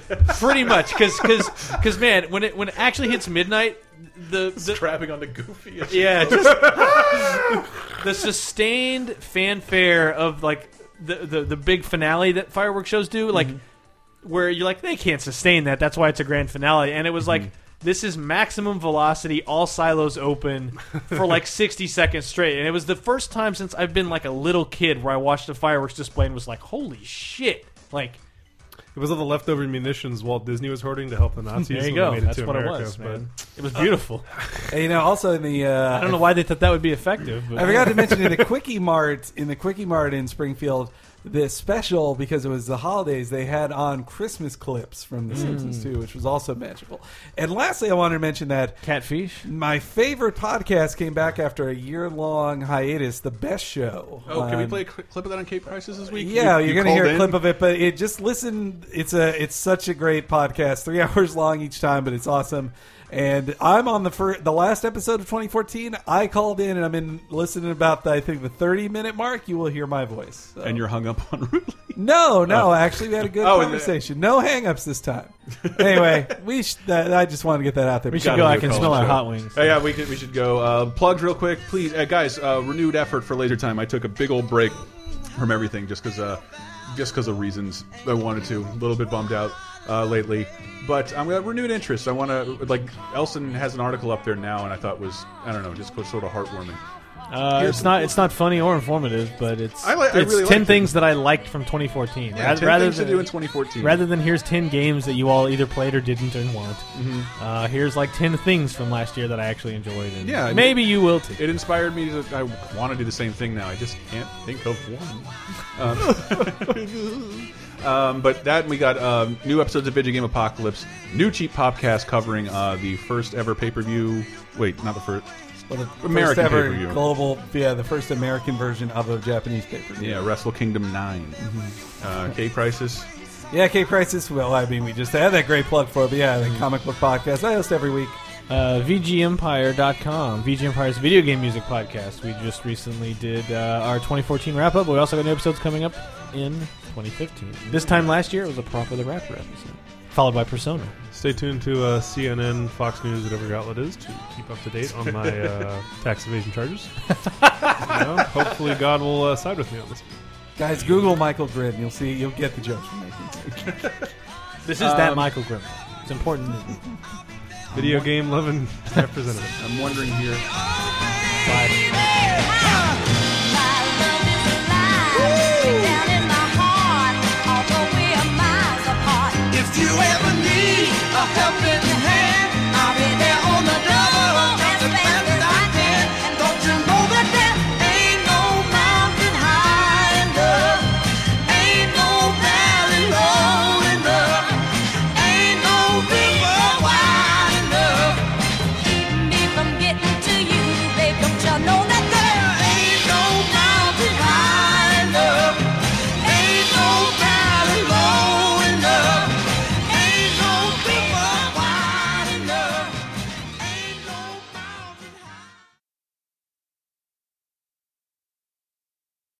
2. Pretty much. Because, cause, cause, man, when it, when it actually hits midnight, the. the Trapping on the goofy. yeah, just. the sustained fanfare of, like, the, the, the big finale that fireworks shows do, like, where you're like, they can't sustain that. That's why it's a grand finale. And it was like, this is maximum velocity, all silos open for like 60 seconds straight. And it was the first time since I've been like a little kid where I watched a fireworks display and was like, holy shit. Like, It was all the leftover munitions Walt Disney was hoarding to help the Nazis. there you when go. They made That's it to what America, it was, but- man. It was beautiful. And, you know, also in the uh, I don't know why they thought that would be effective. But I forgot to mention in the Quickie Mart in the Quickie Mart in Springfield, the special because it was the holidays they had on Christmas clips from The Hmm. Simpsons too, which was also magical. And lastly, I wanted to mention that Catfish? my favorite podcast came back after a year long hiatus. The Best Show. Oh, can Uh, we on- play a cl- clip of that on Cape Prices this week? Yeah, You- you, you are gonna hear called a clip in? of it, but it just listen. It's a it's such a great podcast, three hours long each time, but it's awesome. And I'm on the first, the last episode of 2014. I called in, and I'm in listening about the, I think the 30 minute mark. You will hear my voice. So- and you're hung up on Rudely. no, no. Actually, we had a good Oh, and- conversation. No hangups this time. Anyway, we sh- that, I just wanted to get that out there. We should Gotta go. do I a can college smell our show. hot wings. Oh, yeah, we, could, we should go. Uh, plugs real quick, please. Uh, guys, uh, renewed effort for Laser Time. I took a big old break from everything just because uh, just 'cause of reasons I wanted to. A little bit bummed out uh, lately. But I'm um, renewed interest. I want to, like, Elson has an article up there now, and I thought was, I don't know, just sort of heartwarming. Uh, it's not it's not funny or informative, but it's I like- I it's really ten liked it. things that I liked from 2014. Yeah, Rather- 10 rather things to than, do in 2014. rather than here's ten games that you all either played or didn't and want. Mm-hmm. Uh, here's like ten things from last year that I actually enjoyed. And Yeah, I mean- maybe you will too. it inspired me to. I want to do the same thing now. I just can't think of one. Um, um, but that we got um, new episodes of Video Game Apocalypse, new cheap podcast covering uh, the first ever pay per view. Wait, not the first. Well, the American first ever pay-per-view. global, yeah, the first American version of a Japanese paper. Yeah, Wrestle Kingdom 9 uh, K Crisis. yeah, K Crisis. Well, I mean, we just had that great plug for, it, but yeah, the comic book podcast I host every week. Uh, VGEmpire.com, VG Empire's video game music podcast. We just recently did uh, our 2014 wrap up. We also got new episodes coming up in 2015. This time last year, it was a prop of the rapper episode, followed by Persona. Stay tuned to uh, CNN, Fox News, whatever your outlet is, to keep up to date on my uh, tax evasion charges. You know, hopefully, God will uh, side with me on this. Guys, Google Michael Grimm. You'll see. You'll get the jokes from making. This is that Michael Grimm. It's important. Video game loving representative. I'm wondering here. Bye.